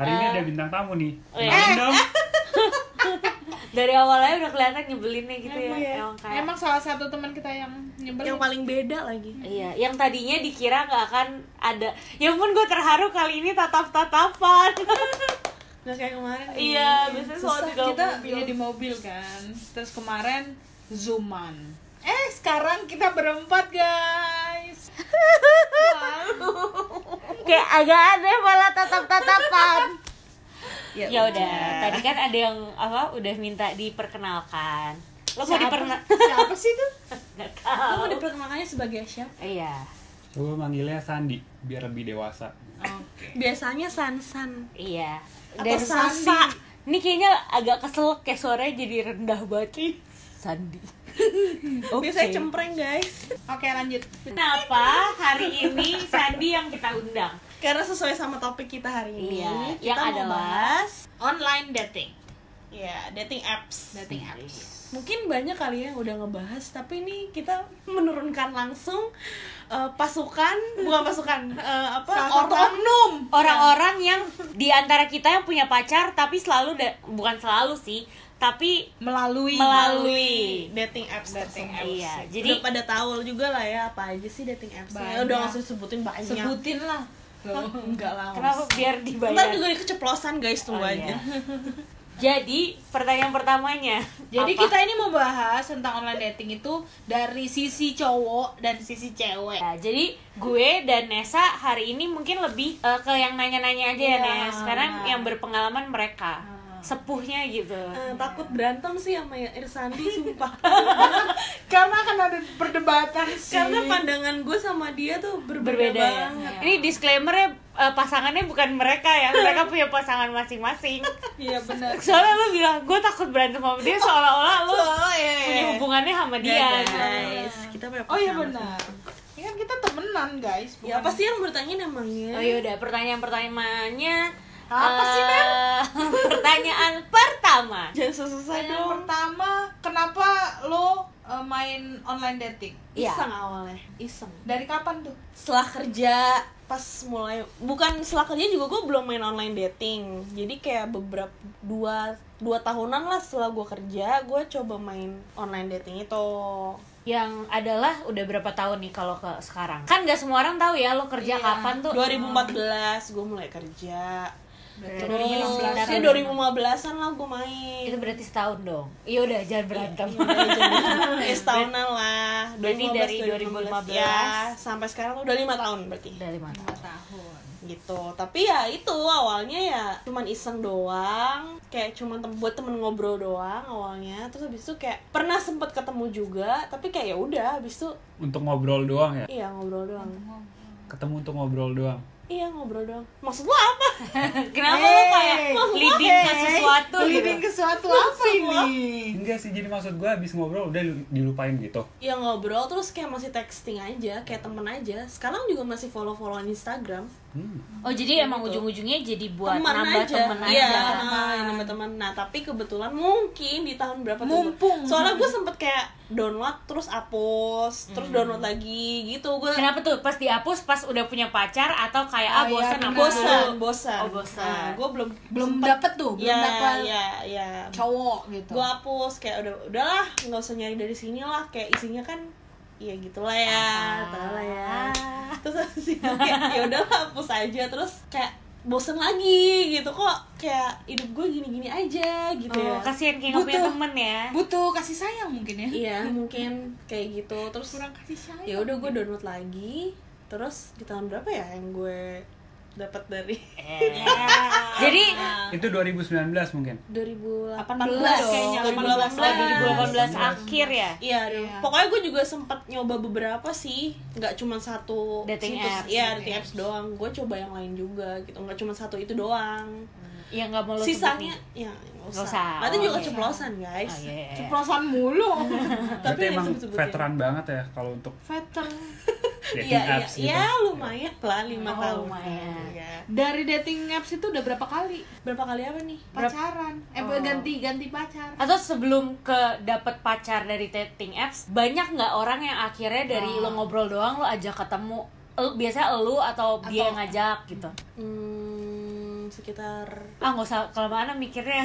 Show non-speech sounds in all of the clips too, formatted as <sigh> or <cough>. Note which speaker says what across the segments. Speaker 1: Eh.
Speaker 2: bintang tamu nih.
Speaker 3: Oh, iya.
Speaker 2: Kenalin dong.
Speaker 3: dari awalnya udah kelihatan nyebelinnya gitu ya,
Speaker 4: Emang ya.
Speaker 3: emang kayak
Speaker 4: Emang salah satu teman kita yang nyebelin.
Speaker 1: yang paling beda lagi
Speaker 3: Iya, yang tadinya dikira nggak akan ada. Ya ampun, gue terharu kali ini
Speaker 4: <laughs>
Speaker 3: tatap-tatapan.
Speaker 1: nggak kayak kemarin
Speaker 3: iya, biasanya soal
Speaker 4: Susah,
Speaker 3: di dalam
Speaker 4: kita
Speaker 3: mobil.
Speaker 4: iya di mobil kan. Terus kemarin zooman. Eh sekarang kita berempat guys.
Speaker 3: Kayak agak aneh malah <laughs> tatap-tatapan.
Speaker 4: Iya.
Speaker 1: ya,
Speaker 3: ya udah, tadi kan ada yang apa udah minta diperkenalkan. Lo mau
Speaker 4: Siapa?
Speaker 3: diperkenal?
Speaker 4: <laughs> Siapa sih tuh?
Speaker 3: Nggak
Speaker 1: kamu
Speaker 3: tahu.
Speaker 1: diperkenalkannya sebagai siapa
Speaker 3: Iya.
Speaker 2: Gue manggilnya Sandi biar lebih dewasa.
Speaker 3: Oh.
Speaker 1: biasanya Sansan
Speaker 3: Iya.
Speaker 1: Atau
Speaker 3: Dan
Speaker 1: Sandi.
Speaker 3: Sasa. Ini kayaknya agak kesel kayak suaranya jadi rendah banget nih.
Speaker 4: <laughs>
Speaker 3: Sandi. Oke.
Speaker 1: biasanya cempreng guys <laughs>
Speaker 4: Oke lanjut.
Speaker 3: Kenapa hari ini Sandi yang kita undang?
Speaker 1: karena sesuai sama topik kita hari ini
Speaker 3: Iya,
Speaker 1: kita
Speaker 3: yang
Speaker 1: mau
Speaker 3: adalah-
Speaker 1: bahas
Speaker 4: Online dating.
Speaker 1: ya dating apps
Speaker 4: Dating apps.
Speaker 1: mungkin banyak kali ya yang udah ngebahas tapi ini kita <laughs> menurunkan langsung eh, pasukan bukan pasukan eh, apa
Speaker 4: Salah satu
Speaker 1: orang
Speaker 4: oknum.
Speaker 3: Orang-orang yang di antara kita yang punya pacar tapi selalu da- bukan selalu sih, tapi
Speaker 4: Melalui.
Speaker 3: melalui
Speaker 1: dating apps
Speaker 4: Dating
Speaker 1: dating
Speaker 4: apps.
Speaker 1: apps
Speaker 3: Iya,
Speaker 1: jadi
Speaker 3: jadi
Speaker 1: udah pada tahu juga lah ya apa aja sih dating apps ya
Speaker 4: Banyak.
Speaker 1: udah langsung sebutin ya? banyak
Speaker 4: Sebutin lah.
Speaker 1: Hah, enggak lah
Speaker 3: kenapa
Speaker 1: Mas.
Speaker 3: biar dibayar?
Speaker 1: ntar juga keceplosan guys tunggu
Speaker 3: Oh,
Speaker 1: aja
Speaker 3: iya. Jadi pertanyaan pertamanya.
Speaker 4: Jadi
Speaker 3: apa?
Speaker 4: kita ini mau bahas tentang online dating itu dari sisi cowok dan sisi cewek.
Speaker 3: Ya, jadi gue dan Nesa hari ini mungkin lebih eh, ke yang nanya-nanya aja ya
Speaker 1: Iya,
Speaker 3: Nes Sekarang
Speaker 1: benar.
Speaker 3: yang berpengalaman mereka
Speaker 4: Hmm.
Speaker 3: Sepuhnya gitu
Speaker 1: Eh, takut berantem sih sama Irsandi sumpah <laughs>
Speaker 4: Karena kan ada perdebatan sih.
Speaker 1: karena pandangan gue sama dia tuh berbeda, Iya.
Speaker 3: Berbeda ya
Speaker 1: banget
Speaker 3: Ini disclaimernya eh, pasangannya bukan mereka ya Mereka punya pasangan masing-masing
Speaker 4: Iya benar.
Speaker 3: Soalnya lo bilang gue takut berantem sama dia Seolah-olah lo
Speaker 1: oh iya, iya.
Speaker 3: punya hubungannya sama
Speaker 1: Iya,
Speaker 3: dia gitu.
Speaker 1: guys kita punya
Speaker 4: Oh Eh. iya
Speaker 1: pasangan.
Speaker 4: benar. Ini kan kita temenan guys.
Speaker 1: ya apa sih yang bertanya namanya
Speaker 3: Oh yaudah pertanyaan pertanyaannya
Speaker 4: Apa sih, Mel?
Speaker 3: eh, <laughs> Pertanyaan pertama
Speaker 1: jangan selesai
Speaker 4: Yang
Speaker 1: dong
Speaker 4: pertama, kenapa lo eh, main online dating?
Speaker 3: Iya.
Speaker 1: iseng awalnya iseng
Speaker 4: Dari kapan tuh?
Speaker 1: setelah kerja pas mulai bukan setelah kerja juga gue belum main online dating jadi kayak beberapa dua dua tahunan lah setelah gue kerja gue coba main online dating itu
Speaker 3: yang adalah udah berapa tahun nih kalau ke sekarang kan nggak semua orang tahu ya lo kerja
Speaker 4: Iya,
Speaker 3: kapan
Speaker 1: Oh.
Speaker 3: tuh
Speaker 1: 2014 gue mulai kerja
Speaker 3: Berarti
Speaker 1: Terus,
Speaker 3: 2016.
Speaker 1: ya
Speaker 4: Iya.
Speaker 1: 2015an lah gue main
Speaker 3: itu berarti setahun dong iya udah jangan berantem
Speaker 1: Ya
Speaker 4: iya,
Speaker 1: udah, jadi- eh, setahunan lah
Speaker 3: Berarti dari
Speaker 1: 2015, ya sampai sekarang udah lima tahun berarti
Speaker 3: udah lima tahun
Speaker 4: tahun.
Speaker 1: gitu tapi ya itu awalnya ya cuman iseng doang kayak cuman tem- buat temen ngobrol doang awalnya terus habis itu kayak pernah sempet ketemu juga tapi kayak ya udah habis itu
Speaker 2: Untuk ngobrol doang ya.
Speaker 1: iya ngobrol doang
Speaker 2: Ketemu untuk ngobrol doang.
Speaker 1: iya ngobrol doang maksud lo apa
Speaker 3: kenapa lo kayak
Speaker 4: Hey,
Speaker 3: leading ke sesuatu
Speaker 4: Leading
Speaker 3: gitu?
Speaker 4: ke Eh, sesuatu apa ini?
Speaker 2: Enggak sih, jadi maksud gue habis ngobrol udah dilupain gitu.
Speaker 1: ya ngobrol terus kayak masih texting aja kayak temen aja sekarang juga masih follow followan Instagram
Speaker 2: Hmm.
Speaker 3: oh jadi emang ujung-ujungnya jadi buat
Speaker 1: teman
Speaker 3: nambah
Speaker 1: aja
Speaker 3: temen
Speaker 1: Iya,
Speaker 3: aja
Speaker 1: ah, nambah teman nah tapi kebetulan mungkin di tahun berapa tuh?
Speaker 4: Mumpung.
Speaker 1: soalnya gue sempet kayak download terus hapus terus download lagi gitu gue
Speaker 3: Hmm. kenapa tuh pas dihapus pas udah punya pacar atau kayak
Speaker 4: Oh,
Speaker 3: ah
Speaker 4: iya,
Speaker 3: bosan
Speaker 4: benar.
Speaker 3: aku
Speaker 1: bosan
Speaker 3: dulu?
Speaker 1: bosan
Speaker 3: Oh, bosan.
Speaker 1: gue belum
Speaker 4: Belum
Speaker 1: sempet-
Speaker 4: dapet tuh, belum
Speaker 1: ya,
Speaker 4: dapet
Speaker 1: ya ya
Speaker 4: cowok gitu.
Speaker 1: gue hapus kayak udah udahlah nggak usah nyari dari sini lah kayak isinya kan ya gitulah ya
Speaker 3: Ah,
Speaker 1: tau lah ya <laughs>
Speaker 3: Iya.
Speaker 1: terus habis itu kayak ya udah hapus aja terus kayak bosen lagi gitu kok kayak hidup gue gini-gini aja
Speaker 3: oh,
Speaker 1: gitu ya
Speaker 3: kasihan kayak nggak punya
Speaker 4: Butuh.
Speaker 3: temen ya
Speaker 4: Butuh kasih sayang mungkin ya.
Speaker 1: iya mungkin kayak gitu terus
Speaker 4: Kurang kasih sayang.
Speaker 1: ya udah gue download lagi terus di tahun berapa ya yang gue dapat dari
Speaker 3: Eh. jadi
Speaker 2: Itu 2019 mungkin.
Speaker 1: 2018
Speaker 4: dong.
Speaker 1: kayaknya
Speaker 4: 2018.
Speaker 3: 2018 akhir ya
Speaker 1: Iya, dong.
Speaker 4: Iya.
Speaker 1: pokoknya gue juga sempat nyoba beberapa sih, nggak cuma satu
Speaker 3: Dating
Speaker 1: situs.
Speaker 3: apps. Hmm.
Speaker 1: Iya, dating apps doang. Gue coba yang lain juga gitu, nggak cuma satu itu doang.
Speaker 3: yang nggak Iya, mau lo
Speaker 1: Sisanya,
Speaker 3: sebutin.
Speaker 1: ya nggak
Speaker 3: Nggak
Speaker 1: usah.
Speaker 3: usah.
Speaker 1: Nanti
Speaker 3: Oh,
Speaker 1: juga
Speaker 3: iya.
Speaker 1: ceplosan guys.
Speaker 3: Oh, iya, iya, iya.
Speaker 4: Ceplosan mulu. <laughs>
Speaker 2: Berarti
Speaker 1: nggak
Speaker 2: emang
Speaker 1: disebut-sebutin.
Speaker 2: veteran banget ya kalau untuk
Speaker 4: Veteran.
Speaker 2: dating
Speaker 1: Iya, iya,
Speaker 2: apps gitu.
Speaker 1: iya, lumayan lah lima
Speaker 3: Oh,
Speaker 1: tahun.
Speaker 3: lumayan.
Speaker 1: Iya.
Speaker 4: Dari dating apps itu udah berapa kali
Speaker 1: Berapa kali apa nih?
Speaker 4: pacaran? Eh
Speaker 3: Oh.
Speaker 4: ganti-ganti pacar.
Speaker 3: Atau sebelum ke dapat pacar dari dating apps, banyak nggak orang yang akhirnya dari lo ngobrol doang lo ajak ketemu? Biasa biasanya elu atau, dia yang ngajak gitu.
Speaker 1: Hmm, sekitar
Speaker 3: ah nggak usah kelamaan mikirnya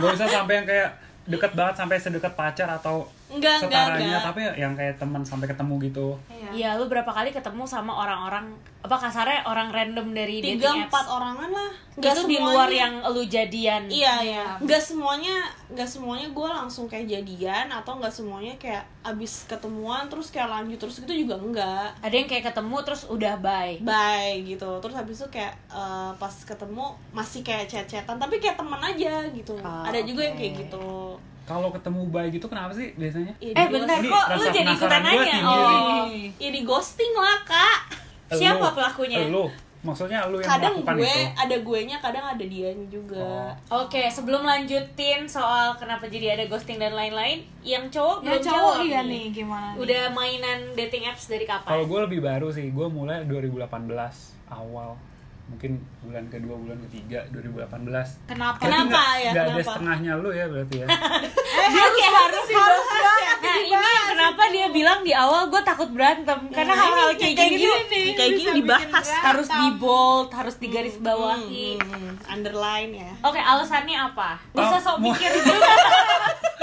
Speaker 2: Gak usah sampai yang kayak deket banget sampai sedekat pacar atau
Speaker 1: Enggak, enggak,
Speaker 2: setaranya,
Speaker 1: enggak.
Speaker 2: tapi yang kayak teman sampai ketemu gitu.
Speaker 4: Iya.
Speaker 3: Iya, lu berapa kali ketemu sama orang-orang apa kasarnya orang random dari
Speaker 1: tiga
Speaker 3: dating apps?
Speaker 1: empat orangan lah Nggak
Speaker 3: itu di luar
Speaker 1: semuanya-
Speaker 3: yang lu jadian.
Speaker 1: iya iya nggak semuanya nggak semuanya gue langsung kayak jadian atau nggak semuanya kayak abis ketemuan terus kayak lanjut terus gitu juga enggak
Speaker 3: Ada yang kayak ketemu terus udah bye.
Speaker 1: bye gitu terus habis itu kayak eh, pas ketemu masih kayak chat-chatan tapi kayak teman aja gitu
Speaker 3: Oh,
Speaker 1: ada juga yang
Speaker 3: oke.
Speaker 1: kayak gitu
Speaker 2: Kalau ketemu bayi gitu kenapa sih biasanya?
Speaker 1: ya,
Speaker 3: Eh
Speaker 1: di-
Speaker 3: bentar
Speaker 2: Ini
Speaker 3: kok lu
Speaker 2: rasa
Speaker 3: jadi
Speaker 2: penasaran
Speaker 3: ikutan
Speaker 2: gua
Speaker 3: nanya.
Speaker 2: tinggi nih.
Speaker 3: Oh.
Speaker 4: Ih.
Speaker 1: ya di ghosting lah kak
Speaker 3: Siapa pelakunya?
Speaker 2: Lu. Maksudnya lu yang
Speaker 1: kadang
Speaker 2: melakukan
Speaker 1: gue
Speaker 2: itu. Oh.
Speaker 1: ada gue nya kadang ada dianya juga
Speaker 3: Oke, sebelum lanjutin soal kenapa jadi ada ghosting dan lain-lain, yang cowok
Speaker 4: Ya
Speaker 3: belum
Speaker 4: cowok
Speaker 3: jawab
Speaker 4: iya
Speaker 3: nih.
Speaker 4: nih gimana? nih?
Speaker 3: Udah mainan dating apps dari
Speaker 2: Kalau
Speaker 3: kapan?
Speaker 2: gue lebih baru sih, gue mulai 2018 awal mungkin bulan kedua bulan ketiga
Speaker 4: Kenapa?
Speaker 2: 2018 Berarti
Speaker 1: Kenapa
Speaker 2: nggak-
Speaker 1: ya?
Speaker 2: nggak ada
Speaker 1: Kenapa?
Speaker 2: setengahnya lu ya berarti
Speaker 1: <laughs>
Speaker 2: ya
Speaker 3: Dia kayak harus
Speaker 4: Harus banget
Speaker 3: Nah, ini yang kenapa dia bilang di awal gue takut berantem karena
Speaker 1: Nah,
Speaker 3: hal-hal
Speaker 1: ini
Speaker 3: kayak,
Speaker 1: kayak
Speaker 3: gini,
Speaker 1: gini
Speaker 3: tuh
Speaker 1: nih, kayak
Speaker 4: bisa
Speaker 1: gini
Speaker 4: bikin
Speaker 1: dibahas,
Speaker 4: berantem.
Speaker 3: harus di bold, harus digaris bawahi.
Speaker 1: Hmm, hmm, hmm. underline ya
Speaker 3: Oke, alasannya apa? Bisa
Speaker 2: Ah,
Speaker 3: sok
Speaker 2: mau-
Speaker 3: mikir
Speaker 2: <laughs>
Speaker 3: dulu.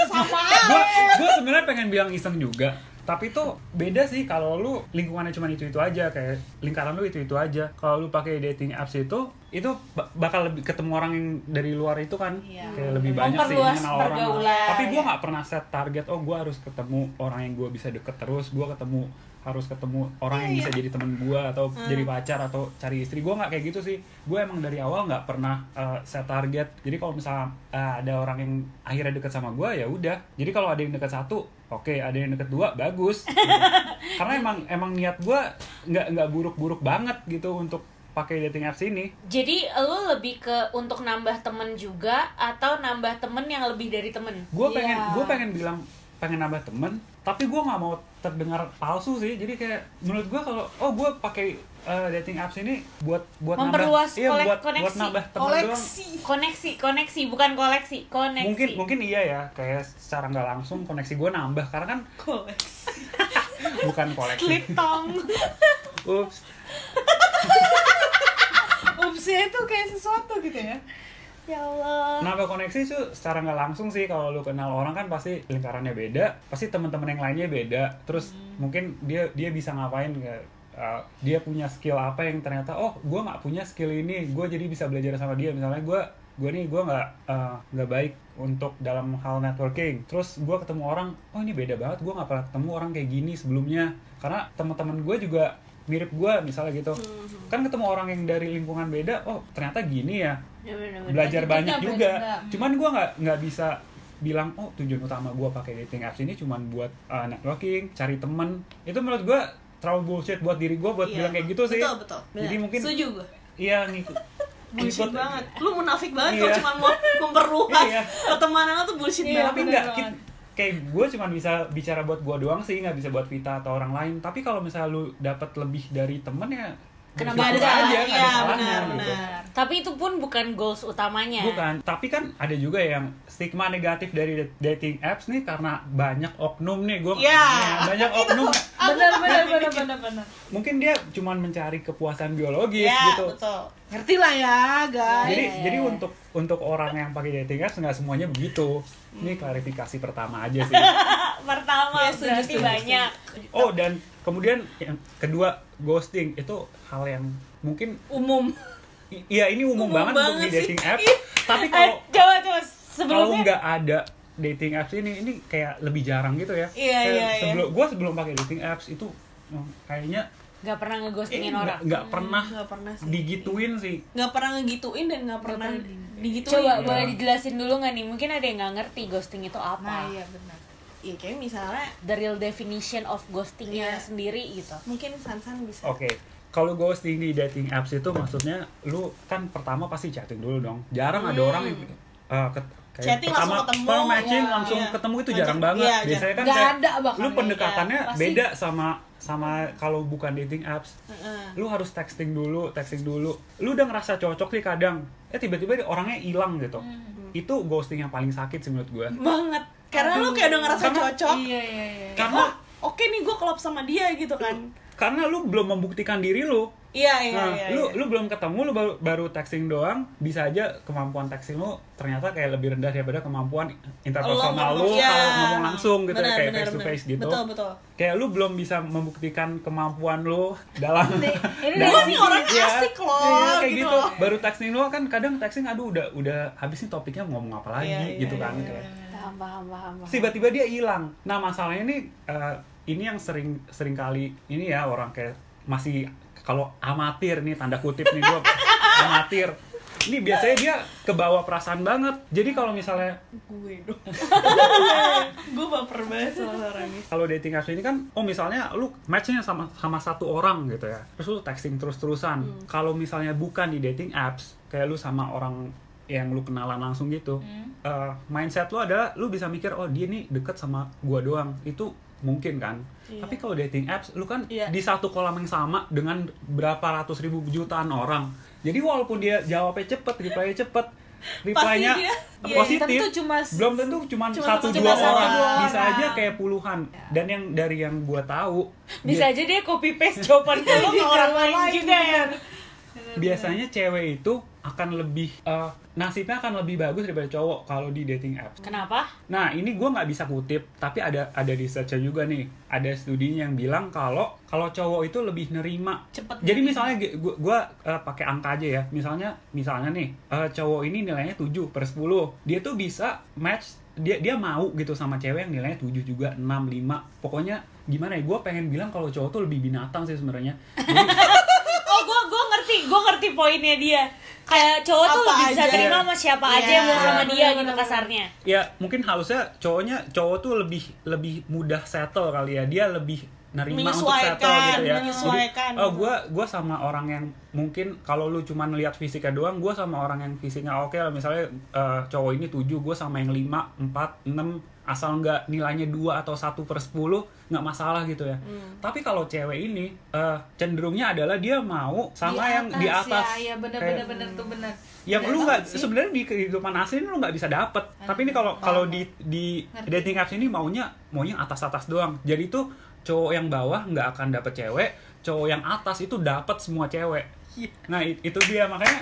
Speaker 1: sama
Speaker 2: gue gue sebenarnya pengen bilang iseng juga tapi itu beda sih kalau lu lingkungannya cuma itu itu aja kayak lingkaran lu itu itu aja kalau lu pakai dating apps itu itu ba- bakal lebih ketemu orang yang dari luar itu kan
Speaker 4: Iya.
Speaker 2: kayak lebih banyak sih
Speaker 3: Memperluas
Speaker 2: kenal orang
Speaker 3: pergaulan,
Speaker 2: tapi gue
Speaker 3: ya.
Speaker 2: nggak pernah set target oh gue harus ketemu orang yang gue bisa deket terus gue ketemu harus ketemu orang yang bisa jadi temen gue atau jadi pacar atau cari istri gue nggak kayak gitu sih gue emang dari awal nggak pernah uh, set target jadi kalau misalnya uh, ada orang yang akhirnya deket sama gue ya udah jadi kalau ada yang deket satu oke ada yang deket dua bagus <laughs> gitu. karena emang emang niat gue nggak nggak buruk-buruk banget gitu untuk pakai dating apps ini
Speaker 3: Jadi lu lebih ke untuk nambah temen juga atau nambah temen yang lebih dari temen?
Speaker 2: gue pengen
Speaker 4: Iya.
Speaker 2: gue pengen bilang pengen nambah temen tapi gue nggak mau terdengar palsu sih jadi kayak menurut gue kalau oh gue pakai eh, dating apps ini buat buat
Speaker 3: Memperluas
Speaker 2: nambah iya,
Speaker 3: kolek-
Speaker 2: buat buat
Speaker 3: koneksi.
Speaker 2: nambah temen doang
Speaker 4: koleksi.
Speaker 3: Koneksi, koneksi, bukan koleksi, koneksi.
Speaker 2: mungkin mungkin iya ya kayak secara nggak langsung koneksi gue nambah karena kan <laughs> bukan koleksi
Speaker 3: Tong.
Speaker 2: <laughs> ups
Speaker 4: Upsnya itu kayak sesuatu gitu ya.
Speaker 3: ya Allah.
Speaker 2: nambah koneksi tuh secara nggak langsung sih kalau lu kenal orang kan pasti lingkarannya beda pasti teman-teman yang lainnya beda terus mungkin dia dia bisa ngapain nggak Uh, dia punya skill apa yang ternyata oh gue nggak punya skill ini gue jadi bisa belajar sama dia misalnya gue gue nih gue nggak uh, nggak baik untuk dalam hal networking terus gue ketemu orang oh ini beda banget gue nggak pernah ketemu orang kayak gini sebelumnya karena teman-teman gue juga mirip gue misalnya gitu kan ketemu orang yang dari lingkungan beda oh ternyata gini ya belajar
Speaker 4: Beda-beda,
Speaker 2: banyak juga.
Speaker 4: beda.
Speaker 2: Cuman gua nggak nggak bisa bilang oh tujuan utama gua pakai dating apps ini cuman buat uh, networking, cari temen. Itu menurut gua terlalu bullshit buat diri gua buat
Speaker 1: Iya,
Speaker 2: bilang kayak gitu sih.
Speaker 1: betul betul
Speaker 2: Jadi
Speaker 1: Benar.
Speaker 2: mungkin
Speaker 1: setuju gue
Speaker 2: iya ngikut.
Speaker 1: <laughs> bullshit
Speaker 2: ngikut-
Speaker 1: banget lu munafik banget
Speaker 2: Iya.
Speaker 1: kalau cuma
Speaker 2: <laughs>
Speaker 1: mau memperluas
Speaker 2: Iya.
Speaker 1: pertemanan lu tuh bullshit
Speaker 2: Iya, tapi
Speaker 1: banget
Speaker 2: nggak
Speaker 4: bener
Speaker 2: kit- kayak gue cuman bisa bicara buat gua doang sih nggak bisa buat Vita atau orang lain tapi kalau misalnya lu dapat lebih dari temen ya
Speaker 3: Kenapa
Speaker 2: bersyukur
Speaker 3: enggak?
Speaker 2: aja nggak
Speaker 1: Iya,
Speaker 2: ada salahnya
Speaker 1: benar,
Speaker 2: gitu
Speaker 1: benar.
Speaker 3: Tapi itu pun bukan goals utamanya.
Speaker 1: Iya.
Speaker 2: Bukan, tapi kan ada juga yang stigma negatif dari dating apps nih karena banyak oknum nih gue.
Speaker 1: Iya.
Speaker 2: Banyak oknum. ya.
Speaker 4: Benar benar benar benar benar.
Speaker 2: Mungkin dia cuman mencari kepuasan biologis
Speaker 1: ya
Speaker 2: gitu.
Speaker 1: betul
Speaker 4: Ngerti lah ya, guys.
Speaker 2: Jadi
Speaker 3: Iya, iya,
Speaker 2: jadi
Speaker 3: iya.
Speaker 2: untuk untuk orang yang pakai dating apps nggak semuanya begitu. Ini
Speaker 1: Hmm.
Speaker 2: klarifikasi pertama aja
Speaker 1: <laughs>
Speaker 2: sih.
Speaker 3: Pertama
Speaker 1: Yes,
Speaker 3: berarti
Speaker 1: yes, yes,
Speaker 3: banyak.
Speaker 2: Oh dan kemudian yang kedua ghosting itu hal yang mungkin
Speaker 1: umum
Speaker 2: i- iya ini umum,
Speaker 1: Umum
Speaker 2: banget, untuk di
Speaker 1: banget sih. Iya.
Speaker 2: dating apps.
Speaker 1: <laughs> Ih.
Speaker 2: Tapi
Speaker 3: Eh,
Speaker 2: kalau
Speaker 3: coba coba
Speaker 2: kalau
Speaker 3: sebelumnya.
Speaker 2: nggak ada dating apps ini ini kayak lebih jarang gitu ya
Speaker 1: Iya,
Speaker 2: Kayak
Speaker 1: iya, iya.
Speaker 2: sebelum gue sebelum pakai dating apps itu mm, kayaknya
Speaker 3: Nggak pernah ngeghostingin
Speaker 2: nggak-
Speaker 3: orang.
Speaker 2: nggak pernah
Speaker 1: Hmm, nggak pernah sih
Speaker 2: digituin sih
Speaker 1: nggak pernah ngegituin dan nggak pernah digituin
Speaker 3: Coba
Speaker 2: Iya.
Speaker 3: boleh dijelasin dulu nggak nih? Mungkin ada yang nggak ngerti ghosting itu apa.
Speaker 4: Nah, iya benar.
Speaker 1: ya kayak misalnya
Speaker 3: The real definition of ghostingnya
Speaker 1: Iya.
Speaker 3: sendiri gitu.
Speaker 1: mungkin Sansan bisa
Speaker 2: oke kalau ghosting di dating apps itu maksudnya lu kan pertama pasti chatting dulu dong jarang ada orang yang eh, ket- kayak
Speaker 1: Hmm. Chatting langsung ketemu,
Speaker 2: pertama matching
Speaker 1: ya,
Speaker 2: langsung
Speaker 1: iya.
Speaker 2: ketemu itu
Speaker 1: Ngajak-
Speaker 2: jarang banget
Speaker 1: iya,
Speaker 2: biasanya kan
Speaker 3: jarang. Nggak
Speaker 2: kayak
Speaker 3: ada bahkan,
Speaker 2: lu
Speaker 3: iya.
Speaker 2: pendekatannya
Speaker 3: Pasti.
Speaker 2: beda sama sama kalau bukan dating apps
Speaker 1: Heeh.
Speaker 2: lu harus texting dulu, texting dulu. Lu udah ngerasa cocok nih kadang, eh tiba-tiba orangnya hilang gitu.
Speaker 1: Hmm.
Speaker 2: Itu ghosting yang paling sakit sih menurut gue.
Speaker 1: banget karena lu kayak udah ngerasa
Speaker 2: Karena-
Speaker 1: cocok
Speaker 4: Iya iya iya.
Speaker 2: Karena
Speaker 1: oh oke nih gue klop sama dia gitu kan
Speaker 2: karena lu belum membuktikan diri lu.
Speaker 1: Iya, iya,
Speaker 2: Nah,
Speaker 1: iya.
Speaker 2: lu
Speaker 1: iya.
Speaker 2: lu belum ketemu lu baru, baru texting doang bisa aja kemampuan texting lu ternyata kayak lebih rendah daripada kemampuan interpersonal
Speaker 1: Lo
Speaker 2: lu
Speaker 1: iya.
Speaker 2: kalau ngomong langsung gitu
Speaker 1: Benar,
Speaker 2: kayak
Speaker 1: benar,
Speaker 2: face to
Speaker 1: benar.
Speaker 2: face gitu
Speaker 1: Betul, betul.
Speaker 2: kayak lu belum bisa membuktikan kemampuan lu dalam <laughs>
Speaker 3: ini
Speaker 2: dalam
Speaker 3: gua nih
Speaker 2: sisi-
Speaker 1: orang
Speaker 2: Iya.
Speaker 1: asik loh,
Speaker 2: Iya, kayak
Speaker 1: gitu
Speaker 2: gitu,
Speaker 1: loh.
Speaker 2: baru texting lu kan kadang texting aduh udah udah habis nih topiknya ngomong apa lagi
Speaker 1: Iya, iya,
Speaker 2: gitu
Speaker 1: iya,
Speaker 2: kan
Speaker 1: iya,
Speaker 2: Kayak-
Speaker 1: iya.
Speaker 3: Paham, paham, paham, paham.
Speaker 2: Terus tiba-tiba dia hilang. Nah masalahnya ini eh, ini yang sering sering kali ini ya orang kayak masih kalau amatir nih tanda kutip nih
Speaker 1: <laughs>
Speaker 2: gue amatir. Ini biasanya dia kebawa perasaan banget. Jadi kalau misalnya
Speaker 1: Gue dong. gue baper banget sama orang ini.
Speaker 2: kalau dating apps ini kan oh misalnya lu matchnya sama sama satu orang gitu ya terus lu texting terus-terusan
Speaker 1: Hmm.
Speaker 2: kalau misalnya bukan di dating apps kayak lu sama orang yang lu kenalan langsung gitu
Speaker 1: Hmm.
Speaker 2: eh, mindset lu adalah lu bisa mikir oh dia nih deket sama gua doang itu mungkin kan
Speaker 1: Iya.
Speaker 2: tapi kalau dating apps lu kan
Speaker 1: Iya.
Speaker 2: di satu kolam yang sama dengan berapa ratus ribu jutaan orang jadi walaupun dia jawabnya cepet reply-nya cepet reply-nya
Speaker 1: dia-
Speaker 3: Iya,
Speaker 2: positif
Speaker 3: tentu cuma s-
Speaker 2: belum tentu cuma
Speaker 1: Cuma
Speaker 2: satu
Speaker 1: satu
Speaker 2: dua
Speaker 1: satu
Speaker 2: orang
Speaker 1: dua
Speaker 2: bisa
Speaker 3: Nah.
Speaker 1: orang.
Speaker 2: aja kayak puluhan dan yang dari yang gua tahu
Speaker 3: Ya. bisa
Speaker 2: bi-
Speaker 3: aja dia copy paste jawaban ke lu ke orang lain juga ya
Speaker 2: biasanya cewek itu akan lebih eh, nasibnya akan lebih bagus daripada cowok kalau di dating apps
Speaker 3: kenapa
Speaker 2: nah ini gua nggak bisa kutip tapi ada ada researcher juga nih ada studinya yang bilang kalau kalau cowok itu lebih nerima
Speaker 1: Cepet.
Speaker 2: jadi misalnya ge- gua, gua, eh, pakai angka aja ya misalnya misalnya nih eh, cowok ini nilainya 7 per 10 dia tuh bisa match dia dia mau gitu sama cewek yang nilainya 7 juga 6 5 pokoknya gimana ya gue pengen bilang kalau cowok tuh lebih binatang sih sebenarnya
Speaker 3: oh gue gue ngerti gue ngerti poinnya dia kayak cowok tuh
Speaker 1: Apa
Speaker 3: lebih bisa
Speaker 1: aja.
Speaker 3: terima sama siapa
Speaker 1: Iya.
Speaker 3: aja yang mau sama
Speaker 1: Iya,
Speaker 3: dia
Speaker 1: bener,
Speaker 3: gitu
Speaker 1: bener.
Speaker 3: kasarnya
Speaker 2: ya mungkin harusnya cowoknya cowok tuh lebih lebih mudah settle kali ya dia lebih nerima untuk settle
Speaker 1: Menyesuaikan,
Speaker 2: gitu ya Jadi,
Speaker 1: menyesuaikan.
Speaker 2: oh gue gua sama orang yang mungkin kalau lu cuma lihat fisiknya doang gue sama orang yang fisiknya oke lah misalnya eh, cowok ini 7 gue sama yang 5, 4, 6 asal nggak nilainya 2 atau 1 per 10 nggak masalah gitu ya tapi kalau cewek ini eh, cenderungnya adalah dia mau sama yang di atas
Speaker 4: ya iya bener
Speaker 2: Kayak-
Speaker 4: bener bener tuh bener
Speaker 2: yang
Speaker 4: Bener
Speaker 2: Ya, lu
Speaker 4: banget
Speaker 2: nggak
Speaker 4: sih.
Speaker 2: sebenarnya di kehidupan asli lu nggak bisa dapet tapi ini kalau kalau di di
Speaker 4: Ngerti.
Speaker 2: dating apps ini maunya maunya atas atas doang jadi tuh cowok yang bawah nggak akan dapet cewek cowok yang atas itu dapet semua cewek
Speaker 1: Iya.
Speaker 2: nah i- itu dia makanya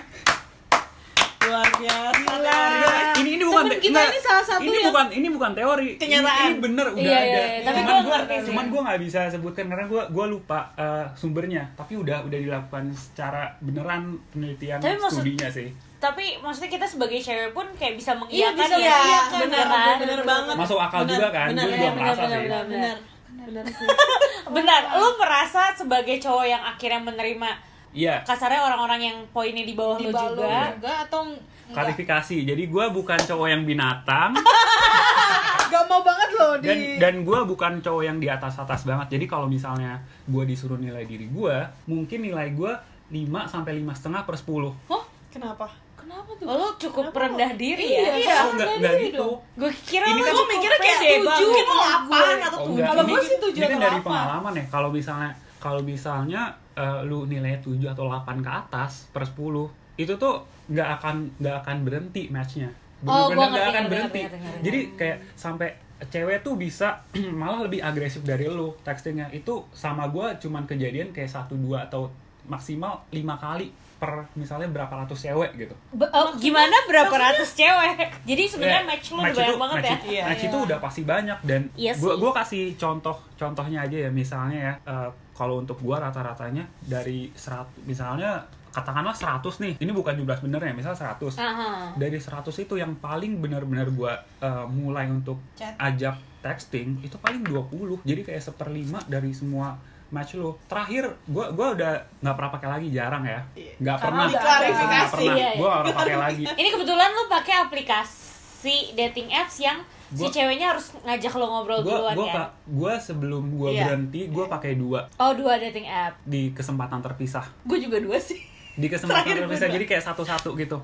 Speaker 1: Luar biasa.
Speaker 2: Nggak, ini ini bukan
Speaker 1: Iya. Temen
Speaker 2: te-
Speaker 1: kita
Speaker 2: nggak,
Speaker 1: ini salah satu
Speaker 2: ini
Speaker 1: yang-
Speaker 2: bukan ini bukan teori Ini-
Speaker 1: Kenyataan.
Speaker 2: ini, bener udah
Speaker 3: Iya,
Speaker 2: ada
Speaker 3: iya, iya. Tapi
Speaker 2: cuman
Speaker 3: gua
Speaker 2: gua
Speaker 3: ngerti sih.
Speaker 2: cuman gua nggak bisa sebutkan karena gua gua lupa eh, sumbernya tapi udah udah dilakukan secara beneran penelitian
Speaker 3: Tapi maksud-
Speaker 2: studinya sih
Speaker 3: tapi maksudnya kita sebagai cewek pun kayak bisa
Speaker 1: Iya,
Speaker 3: mengiyakan ya.
Speaker 1: bisa mengiyakan.
Speaker 3: bener kan
Speaker 1: bener banget.
Speaker 2: Masuk akal
Speaker 1: Bener,
Speaker 2: juga kan?
Speaker 1: bener,
Speaker 2: Gua
Speaker 1: iya,
Speaker 2: juga
Speaker 1: bener,
Speaker 2: merasa
Speaker 1: bener,
Speaker 2: sih.
Speaker 1: Bener, bener. Bener sih.
Speaker 3: benar lu merasa sebagai cowok yang akhirnya menerima
Speaker 2: iya
Speaker 3: kasarnya orang-orang yang poinnya di bawah lu
Speaker 4: Dibalut
Speaker 3: juga
Speaker 4: juga atau enggak
Speaker 2: klarifikasi jadi gue bukan cowok yang binatang
Speaker 4: Gak Ah, mau banget loh di
Speaker 2: dan dan gue bukan cowok yang di atas atas banget jadi kalau misalnya gue disuruh nilai diri gue mungkin nilai gue 5 sampai lima setengah per 10
Speaker 1: Hah? Kenapa?
Speaker 4: kenapa tuh
Speaker 3: Oh, lu cukup
Speaker 1: Kenapa
Speaker 3: rendah
Speaker 1: lu-
Speaker 3: diri
Speaker 1: Iya.
Speaker 3: ya
Speaker 2: iya oh, enggak, enggak gitu
Speaker 3: gue kira
Speaker 2: Ini
Speaker 3: lu
Speaker 2: kan
Speaker 3: cukup
Speaker 1: mikirnya kayak
Speaker 3: pede
Speaker 1: tujuh,
Speaker 3: banget.
Speaker 1: mungkin delapan
Speaker 2: Oh,
Speaker 1: atau tujuh.
Speaker 2: enggak.
Speaker 4: Kalau
Speaker 2: Ini-
Speaker 4: gua sih tujuh
Speaker 2: ini kan
Speaker 4: atau
Speaker 2: dari
Speaker 4: delapan.
Speaker 2: pengalaman ya kalau misalnya kalau misalnya eh, lu nilainya 7 atau 8 ke atas per 10 itu tuh nggak akan nggak akan berhenti matchnya
Speaker 3: Oh,
Speaker 2: Bener-bener
Speaker 3: gua
Speaker 2: nggak
Speaker 3: ngerti,
Speaker 2: akan
Speaker 3: ngerti,
Speaker 2: berhenti
Speaker 3: ngerti, ngerti, ngerti.
Speaker 2: jadi kayak sampai cewek tuh bisa <clears throat> malah lebih agresif dari lu textingnya itu sama gua cuman kejadian kayak satu dua atau maksimal lima kali per misalnya berapa ratus cewek gitu
Speaker 3: Be- oh, gimana berapa ratus cewek jadi sebenarnya
Speaker 2: Kayak
Speaker 3: match lu udah banyak
Speaker 2: itu-
Speaker 3: banget
Speaker 2: Eh, Iya, match
Speaker 3: ya
Speaker 2: itu-
Speaker 1: Iya,
Speaker 2: match itu udah pasti banyak dan
Speaker 3: Iya
Speaker 2: gua
Speaker 3: sih.
Speaker 2: gua kasih contoh contohnya aja ya misalnya ya eh, kalau untuk gua rata-ratanya dari 100 misalnya katakanlah 100 nih. Ini bukan jumlah sebenarnya, misalnya 100.
Speaker 3: Aha.
Speaker 2: Dari 100 itu yang paling benar-benar gua eh, mulai untuk
Speaker 4: Chat.
Speaker 2: ajak texting itu paling 20. Jadi kayak seperlima dari semua match lo. Terakhir gua gua udah nggak pernah pakai lagi, jarang ya. Nggak
Speaker 4: Karena
Speaker 2: pernah.
Speaker 4: udah
Speaker 2: Nggak
Speaker 1: diklarifikasi.
Speaker 2: pernah.
Speaker 3: Iya, iya.
Speaker 2: Gua nggak pernah pakai lagi.
Speaker 3: ini kebetulan lu pakai aplikasi dating apps yang si
Speaker 2: Gua-
Speaker 3: ceweknya harus ngajak lu ngobrol
Speaker 2: gua
Speaker 3: duluan
Speaker 2: gua
Speaker 3: kan
Speaker 2: pa- gua sebelum gua
Speaker 1: ya. Iya.
Speaker 2: berhenti gua pakai dua
Speaker 3: oh dua dating app
Speaker 2: di kesempatan terpisah
Speaker 1: Gue juga dua sih.
Speaker 2: di kesempatan
Speaker 1: Terakhir gua
Speaker 2: terpisah
Speaker 1: dua.
Speaker 2: jadi kayak satu satu gitu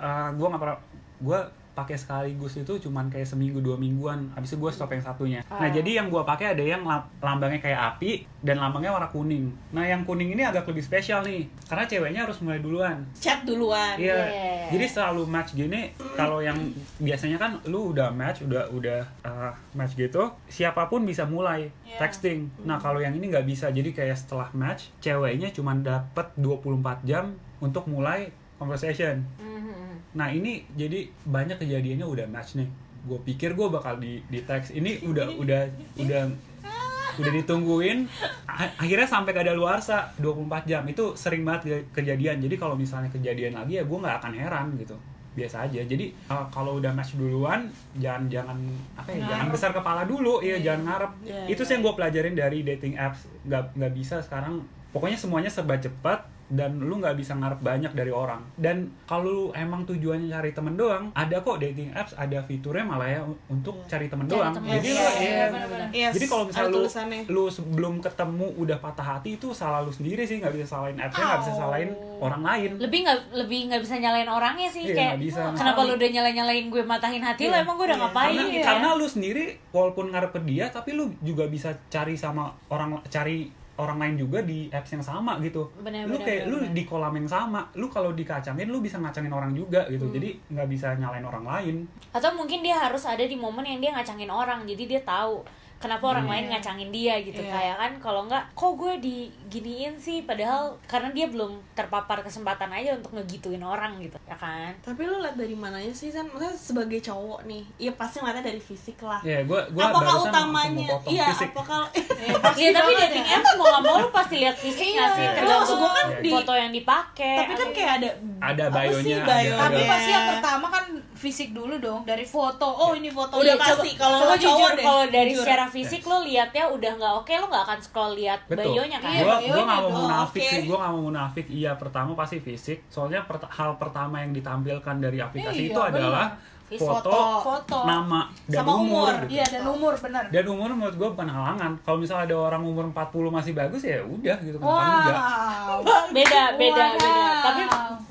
Speaker 2: Eh, gua nggak pernah gua pakai sekaligus itu cuman kayak seminggu dua mingguan habis itu gue stop yang satunya
Speaker 1: Ah.
Speaker 2: nah jadi yang gue pakai ada yang lam- lambangnya kayak api dan lambangnya warna kuning nah yang kuning ini agak lebih spesial nih karena ceweknya harus mulai duluan
Speaker 1: chat duluan
Speaker 2: Iya.
Speaker 3: Yeah.
Speaker 2: Jadi selalu match gini. Kalau yang biasanya kan lu udah match, udah udah uh, match gitu, siapapun bisa mulai
Speaker 4: Iya.
Speaker 2: texting. Nah, kalau yang ini nggak bisa. Jadi kayak setelah match, ceweknya cuma dapat 24 jam untuk mulai conversation. Nah, ini jadi banyak kejadiannya udah match nih. Gue pikir gue bakal di di text. Ini udah udah udah udah ditungguin A- akhirnya sampai kada luar 24 jam itu sering banget ke- kejadian jadi kalau misalnya kejadian lagi ya gue nggak akan heran gitu biasa aja jadi uh, kalau udah match duluan jangan jangan apa ya jangan
Speaker 4: Ngarep.
Speaker 2: besar kepala dulu ya jangan ngarep
Speaker 1: Iya,
Speaker 2: itu
Speaker 1: iya.
Speaker 2: sih yang gue pelajarin dari dating apps nggak nggak bisa sekarang pokoknya semuanya serba cepat dan lu nggak bisa ngarep banyak dari orang dan kalau lu emang tujuannya cari temen doang ada kok dating apps ada fiturnya malah ya un- untuk cari temen
Speaker 3: Cari
Speaker 2: doang
Speaker 3: temen.
Speaker 2: jadi
Speaker 4: Iya,
Speaker 2: lu
Speaker 4: iya,
Speaker 2: iya,
Speaker 4: benar-benar.
Speaker 1: Yes,
Speaker 2: jadi kalau misalnya
Speaker 1: ada
Speaker 2: lu,
Speaker 1: tulisannya.
Speaker 2: lu sebelum ketemu udah patah hati itu salah lu sendiri sih nggak bisa salahin appsnya nggak bisa
Speaker 4: Au.
Speaker 2: salahin orang lain
Speaker 3: lebih nggak lebih nggak bisa nyalain orangnya sih
Speaker 2: Iya,
Speaker 3: kayak
Speaker 2: nggak bisa.
Speaker 3: kenapa lu udah nyalain nyalain gue matahin hati lo
Speaker 2: Iya.
Speaker 3: emang gue udah
Speaker 1: Iya.
Speaker 3: ngapain
Speaker 2: karena,
Speaker 3: ya?
Speaker 2: karena lu sendiri walaupun ngarep ke dia tapi lu juga bisa cari sama orang cari orang lain juga di apps yang sama gitu
Speaker 3: Bener,
Speaker 2: lu
Speaker 3: bener,
Speaker 2: kayak
Speaker 3: bener,
Speaker 2: lu
Speaker 3: bener.
Speaker 2: di kolam yang sama lu kalau dikacangin lu bisa ngacangin orang juga gitu jadi nggak bisa nyalain orang lain
Speaker 3: atau mungkin dia harus ada di momen yang dia ngacangin orang jadi dia tahu kenapa orang lain ngacangin dia gitu
Speaker 4: Iya.
Speaker 3: kayak kan kalau nggak kok gue diginiin sih padahal karena dia belum terpapar kesempatan aja untuk ngegituin orang gitu ya kan
Speaker 1: tapi lu lihat dari mananya sih San maksudnya sebagai cowok nih ya pasti ngeliatnya dari fisik lah
Speaker 2: ya gua gua
Speaker 1: apakah
Speaker 2: barusan langsung mau
Speaker 1: Ah. utamanya
Speaker 2: potong
Speaker 1: iya
Speaker 2: fisik.
Speaker 1: apakah <laughs>
Speaker 3: Iya tapi dating apps mau nggak mau lu pasti lihat fisiknya
Speaker 1: ya. Iya.
Speaker 3: sih
Speaker 1: Tapi
Speaker 3: tergantung
Speaker 1: maksud gua kan di-
Speaker 3: foto yang dipakai
Speaker 1: tapi kan
Speaker 3: atau-
Speaker 1: kayak ada
Speaker 2: Ada
Speaker 1: apa
Speaker 2: bio-nya,
Speaker 1: sih,
Speaker 2: ada-
Speaker 1: bio
Speaker 4: Tapi
Speaker 2: Iya.
Speaker 4: pasti yang pertama kan fisik dulu dong dari foto. Oh ini foto
Speaker 1: Udah
Speaker 4: Iya,
Speaker 1: pasti, kalau
Speaker 3: coba
Speaker 1: cowok
Speaker 3: jujur
Speaker 1: deh,
Speaker 3: kalau dari
Speaker 1: jujur.
Speaker 3: secara fisik lo liatnya udah nggak oke lo nggak akan scroll liat
Speaker 2: Betul.
Speaker 3: bayonya kan
Speaker 1: Iya.
Speaker 2: Gua gua
Speaker 4: bayonya
Speaker 2: nggak mau
Speaker 4: dong,
Speaker 2: munafik
Speaker 1: oke.
Speaker 2: sih, gua nggak mau munafik. Iya, pertama pasti fisik. Soalnya pert- hal pertama yang ditampilkan dari aplikasi
Speaker 4: Iya,
Speaker 2: itu adalah
Speaker 3: Fis-
Speaker 2: foto,
Speaker 4: foto.
Speaker 2: nama dan
Speaker 1: Sama
Speaker 2: umur.
Speaker 1: umur,
Speaker 2: gitu.
Speaker 4: Iya dan umur benar.
Speaker 2: Dan umur menurut gua bukan halangan. Kalau misalnya ada orang umur 40 masih bagus ya udah gitu kenapa enggak?
Speaker 4: Wow.
Speaker 3: beda beda
Speaker 4: Wow.
Speaker 3: beda tapi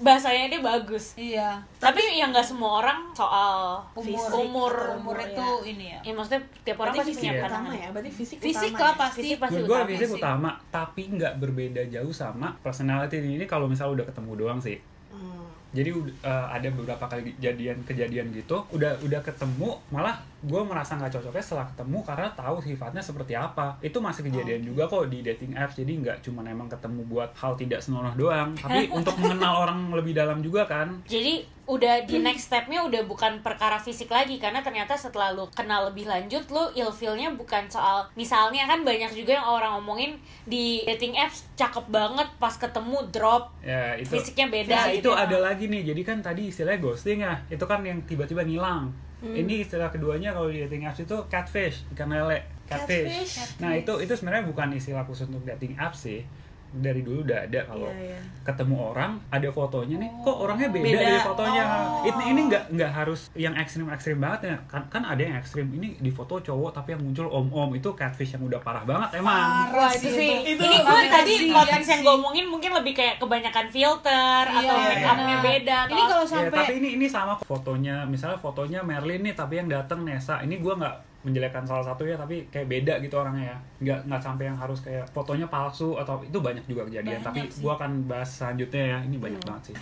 Speaker 3: bahasanya dia bagus
Speaker 4: Iya.
Speaker 3: tapi yang nggak semua orang soal
Speaker 4: Umur,
Speaker 3: umur
Speaker 4: umur
Speaker 1: Umur,
Speaker 4: itu
Speaker 1: ya.
Speaker 4: ini ya.
Speaker 3: ya maksudnya tiap orang
Speaker 1: berarti
Speaker 3: pasti
Speaker 1: fisik
Speaker 3: punya
Speaker 2: Iya.
Speaker 1: utama
Speaker 3: pandangan
Speaker 1: ya berarti fisik
Speaker 4: Fisik
Speaker 1: utama
Speaker 4: lah
Speaker 1: ya.
Speaker 4: pasti.
Speaker 3: fisik pasti
Speaker 2: Menurut gua
Speaker 3: utama
Speaker 2: fisik
Speaker 4: sih.
Speaker 2: utama, tapi nggak berbeda jauh sama personality ini kalau misalnya udah ketemu doang sih.
Speaker 1: Hmm.
Speaker 2: jadi ud- eh, ada beberapa kali kejadian kejadian gitu udah udah ketemu malah gue merasa nggak cocoknya setelah ketemu karena tahu sifatnya seperti apa itu masih kejadian juga kok di dating apps jadi nggak cuman emang ketemu buat hal tidak senonoh doang tapi
Speaker 3: <laughs>
Speaker 2: untuk mengenal orang lebih dalam juga kan
Speaker 3: jadi udah di next stepnya udah bukan perkara fisik lagi karena ternyata setelah lu kenal lebih lanjut lu ilfilnya bukan soal misalnya kan banyak juga yang orang omongin di dating apps cakep banget pas ketemu drop
Speaker 2: ya itu
Speaker 3: fisiknya beda
Speaker 2: Nah, itu
Speaker 3: gitu.
Speaker 2: ada lagi nih. Jadi kan tadi istilahnya ghosting ya. Itu kan yang tiba-tiba ngilang. Ini istilah keduanya kalau di dating apps itu catfish, ikan lele. Catfish.
Speaker 1: Catfish.
Speaker 2: Nah, itu itu sebenarnya bukan istilah khusus untuk dating apps sih. Dari dulu udah ada kalau
Speaker 1: Iya, iya.
Speaker 2: ketemu orang ada fotonya nih kok orangnya beda,
Speaker 1: Beda.
Speaker 2: dari fotonya
Speaker 4: Oh.
Speaker 2: ini ini nggak nggak harus yang ekstrim ekstrim banget ya kan kan ada yang ekstrim ini di foto cowok tapi yang muncul om om itu catfish yang udah parah banget emang
Speaker 4: Parah sih,
Speaker 3: itu sih.
Speaker 4: itu.
Speaker 3: ini
Speaker 4: Itu
Speaker 3: gue
Speaker 4: aplikasi
Speaker 3: tadi
Speaker 4: sih,
Speaker 3: konteks
Speaker 4: iya
Speaker 3: yang gue
Speaker 4: sih.
Speaker 3: omongin mungkin lebih kayak kebanyakan filter atau
Speaker 4: Iya,
Speaker 3: make upnya
Speaker 4: benar.
Speaker 3: beda.
Speaker 4: Ini kalau
Speaker 2: Ya,
Speaker 4: sampai
Speaker 2: tapi ini ini sama kok fotonya, misalnya fotonya Merlin nih, tapi yang datang Nesa. Ini gua nggak menjelekkan salah satu ya, tapi kayak beda gitu orangnya ya. Nggak nggak sampai yang harus kayak fotonya palsu atau itu banyak juga kejadian.
Speaker 4: Banyak
Speaker 2: tapi
Speaker 4: sih.
Speaker 2: gua akan bahas selanjutnya ya. Ini banyak banget sih.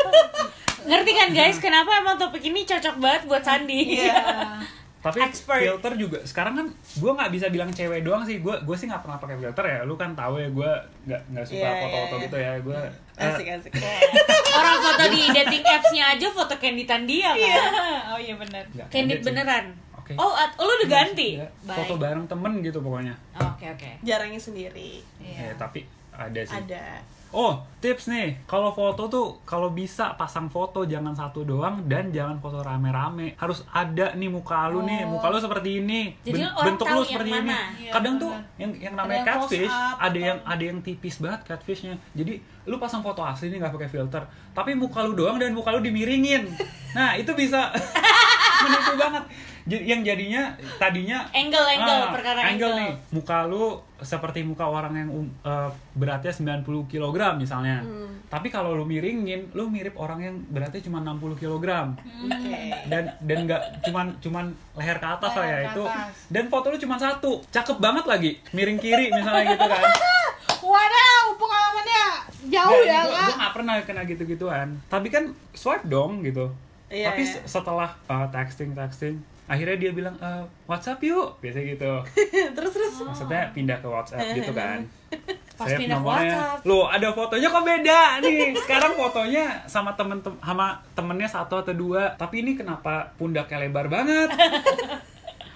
Speaker 3: ngerti kan guys kenapa emang topik ini cocok banget buat Sandi?
Speaker 4: Iya.
Speaker 2: tapi
Speaker 3: Expert.
Speaker 2: filter juga. Sekarang kan gua nggak bisa bilang cewek doang sih. Gua gua sih nggak pernah pakai filter ya. Lu kan tahu ya gua nggak nggak suka
Speaker 1: Iya,
Speaker 2: foto-foto
Speaker 1: iya, iya.
Speaker 2: gitu ya. Gua eh,
Speaker 1: asik asik
Speaker 3: <laughs> Orang foto di dating appsnya aja foto candidan dia kan?
Speaker 4: <laughs> Oh iya benar.
Speaker 2: nggak
Speaker 3: Candid
Speaker 2: candid sih.
Speaker 3: beneran.
Speaker 2: Oke.
Speaker 3: Oh, at- oh, lu udah ganti?
Speaker 2: Ya,
Speaker 3: Baik.
Speaker 2: Foto bareng temen gitu pokoknya.
Speaker 3: Oke, oke.
Speaker 1: jarangnya sendiri
Speaker 2: Ya, tapi ada sih.
Speaker 1: ada
Speaker 2: Oh, tips nih. Kalau foto tuh kalau bisa pasang foto jangan satu doang dan jangan foto rame-rame. Harus ada nih muka lu nih. Muka lu seperti ini.
Speaker 3: Jadi orang
Speaker 2: bentuk
Speaker 3: tahu
Speaker 2: lu
Speaker 3: yang
Speaker 2: seperti
Speaker 3: mana.
Speaker 2: ini.
Speaker 4: Iya,
Speaker 2: Kadang
Speaker 4: benar.
Speaker 2: tuh yang yang namanya
Speaker 4: Ada yang close
Speaker 2: catfish,
Speaker 4: up,
Speaker 2: ada yang
Speaker 4: atau-
Speaker 2: ada yang tipis banget catfishnya. Jadi lu pasang foto asli nih nggak pakai filter, tapi muka lu doang dan muka lu dimiringin. Nah, itu bisa menipu banget Jadi- yang jadinya tadinya
Speaker 3: Angle, angle,
Speaker 2: Ah,
Speaker 3: perkara
Speaker 2: angle,
Speaker 3: angle.
Speaker 2: nih muka lu seperti muka orang yang um- eh, beratnya 90 kg misalnya
Speaker 3: Hmm.
Speaker 2: tapi kalau lu miringin lu mirip orang yang beratnya cuma 60 kg
Speaker 3: Hmm.
Speaker 4: Oke.
Speaker 2: dan dan nggak cuman cuman leher ke atas lah ya
Speaker 4: Leher ke
Speaker 2: itu
Speaker 4: atas.
Speaker 2: dan foto lu cuma satu cakep banget lagi miring kiri misalnya gitu kan
Speaker 4: Wadaw, pengalamannya jauh ya,
Speaker 2: gue
Speaker 4: Kak.
Speaker 2: gak pernah kena gitu-gituan tapi kan swipe dong gitu
Speaker 1: Iya,
Speaker 2: tapi
Speaker 1: iya.
Speaker 2: se- setelah uh, texting texting akhirnya dia bilang "Eh, WhatsApp yuk biasa gitu
Speaker 1: <laughs> terus terus
Speaker 2: maksudnya pindah ke WhatsApp gitu kan
Speaker 3: Oh. <laughs> Pas
Speaker 2: Saya
Speaker 3: pindah ke
Speaker 2: nomornya,
Speaker 3: WhatsApp.
Speaker 2: Loh, ada fotonya kok beda nih. Sekarang fotonya sama temen tem- sama temennya satu atau dua. Tapi ini kenapa pundaknya lebar
Speaker 3: <laughs>
Speaker 2: banget?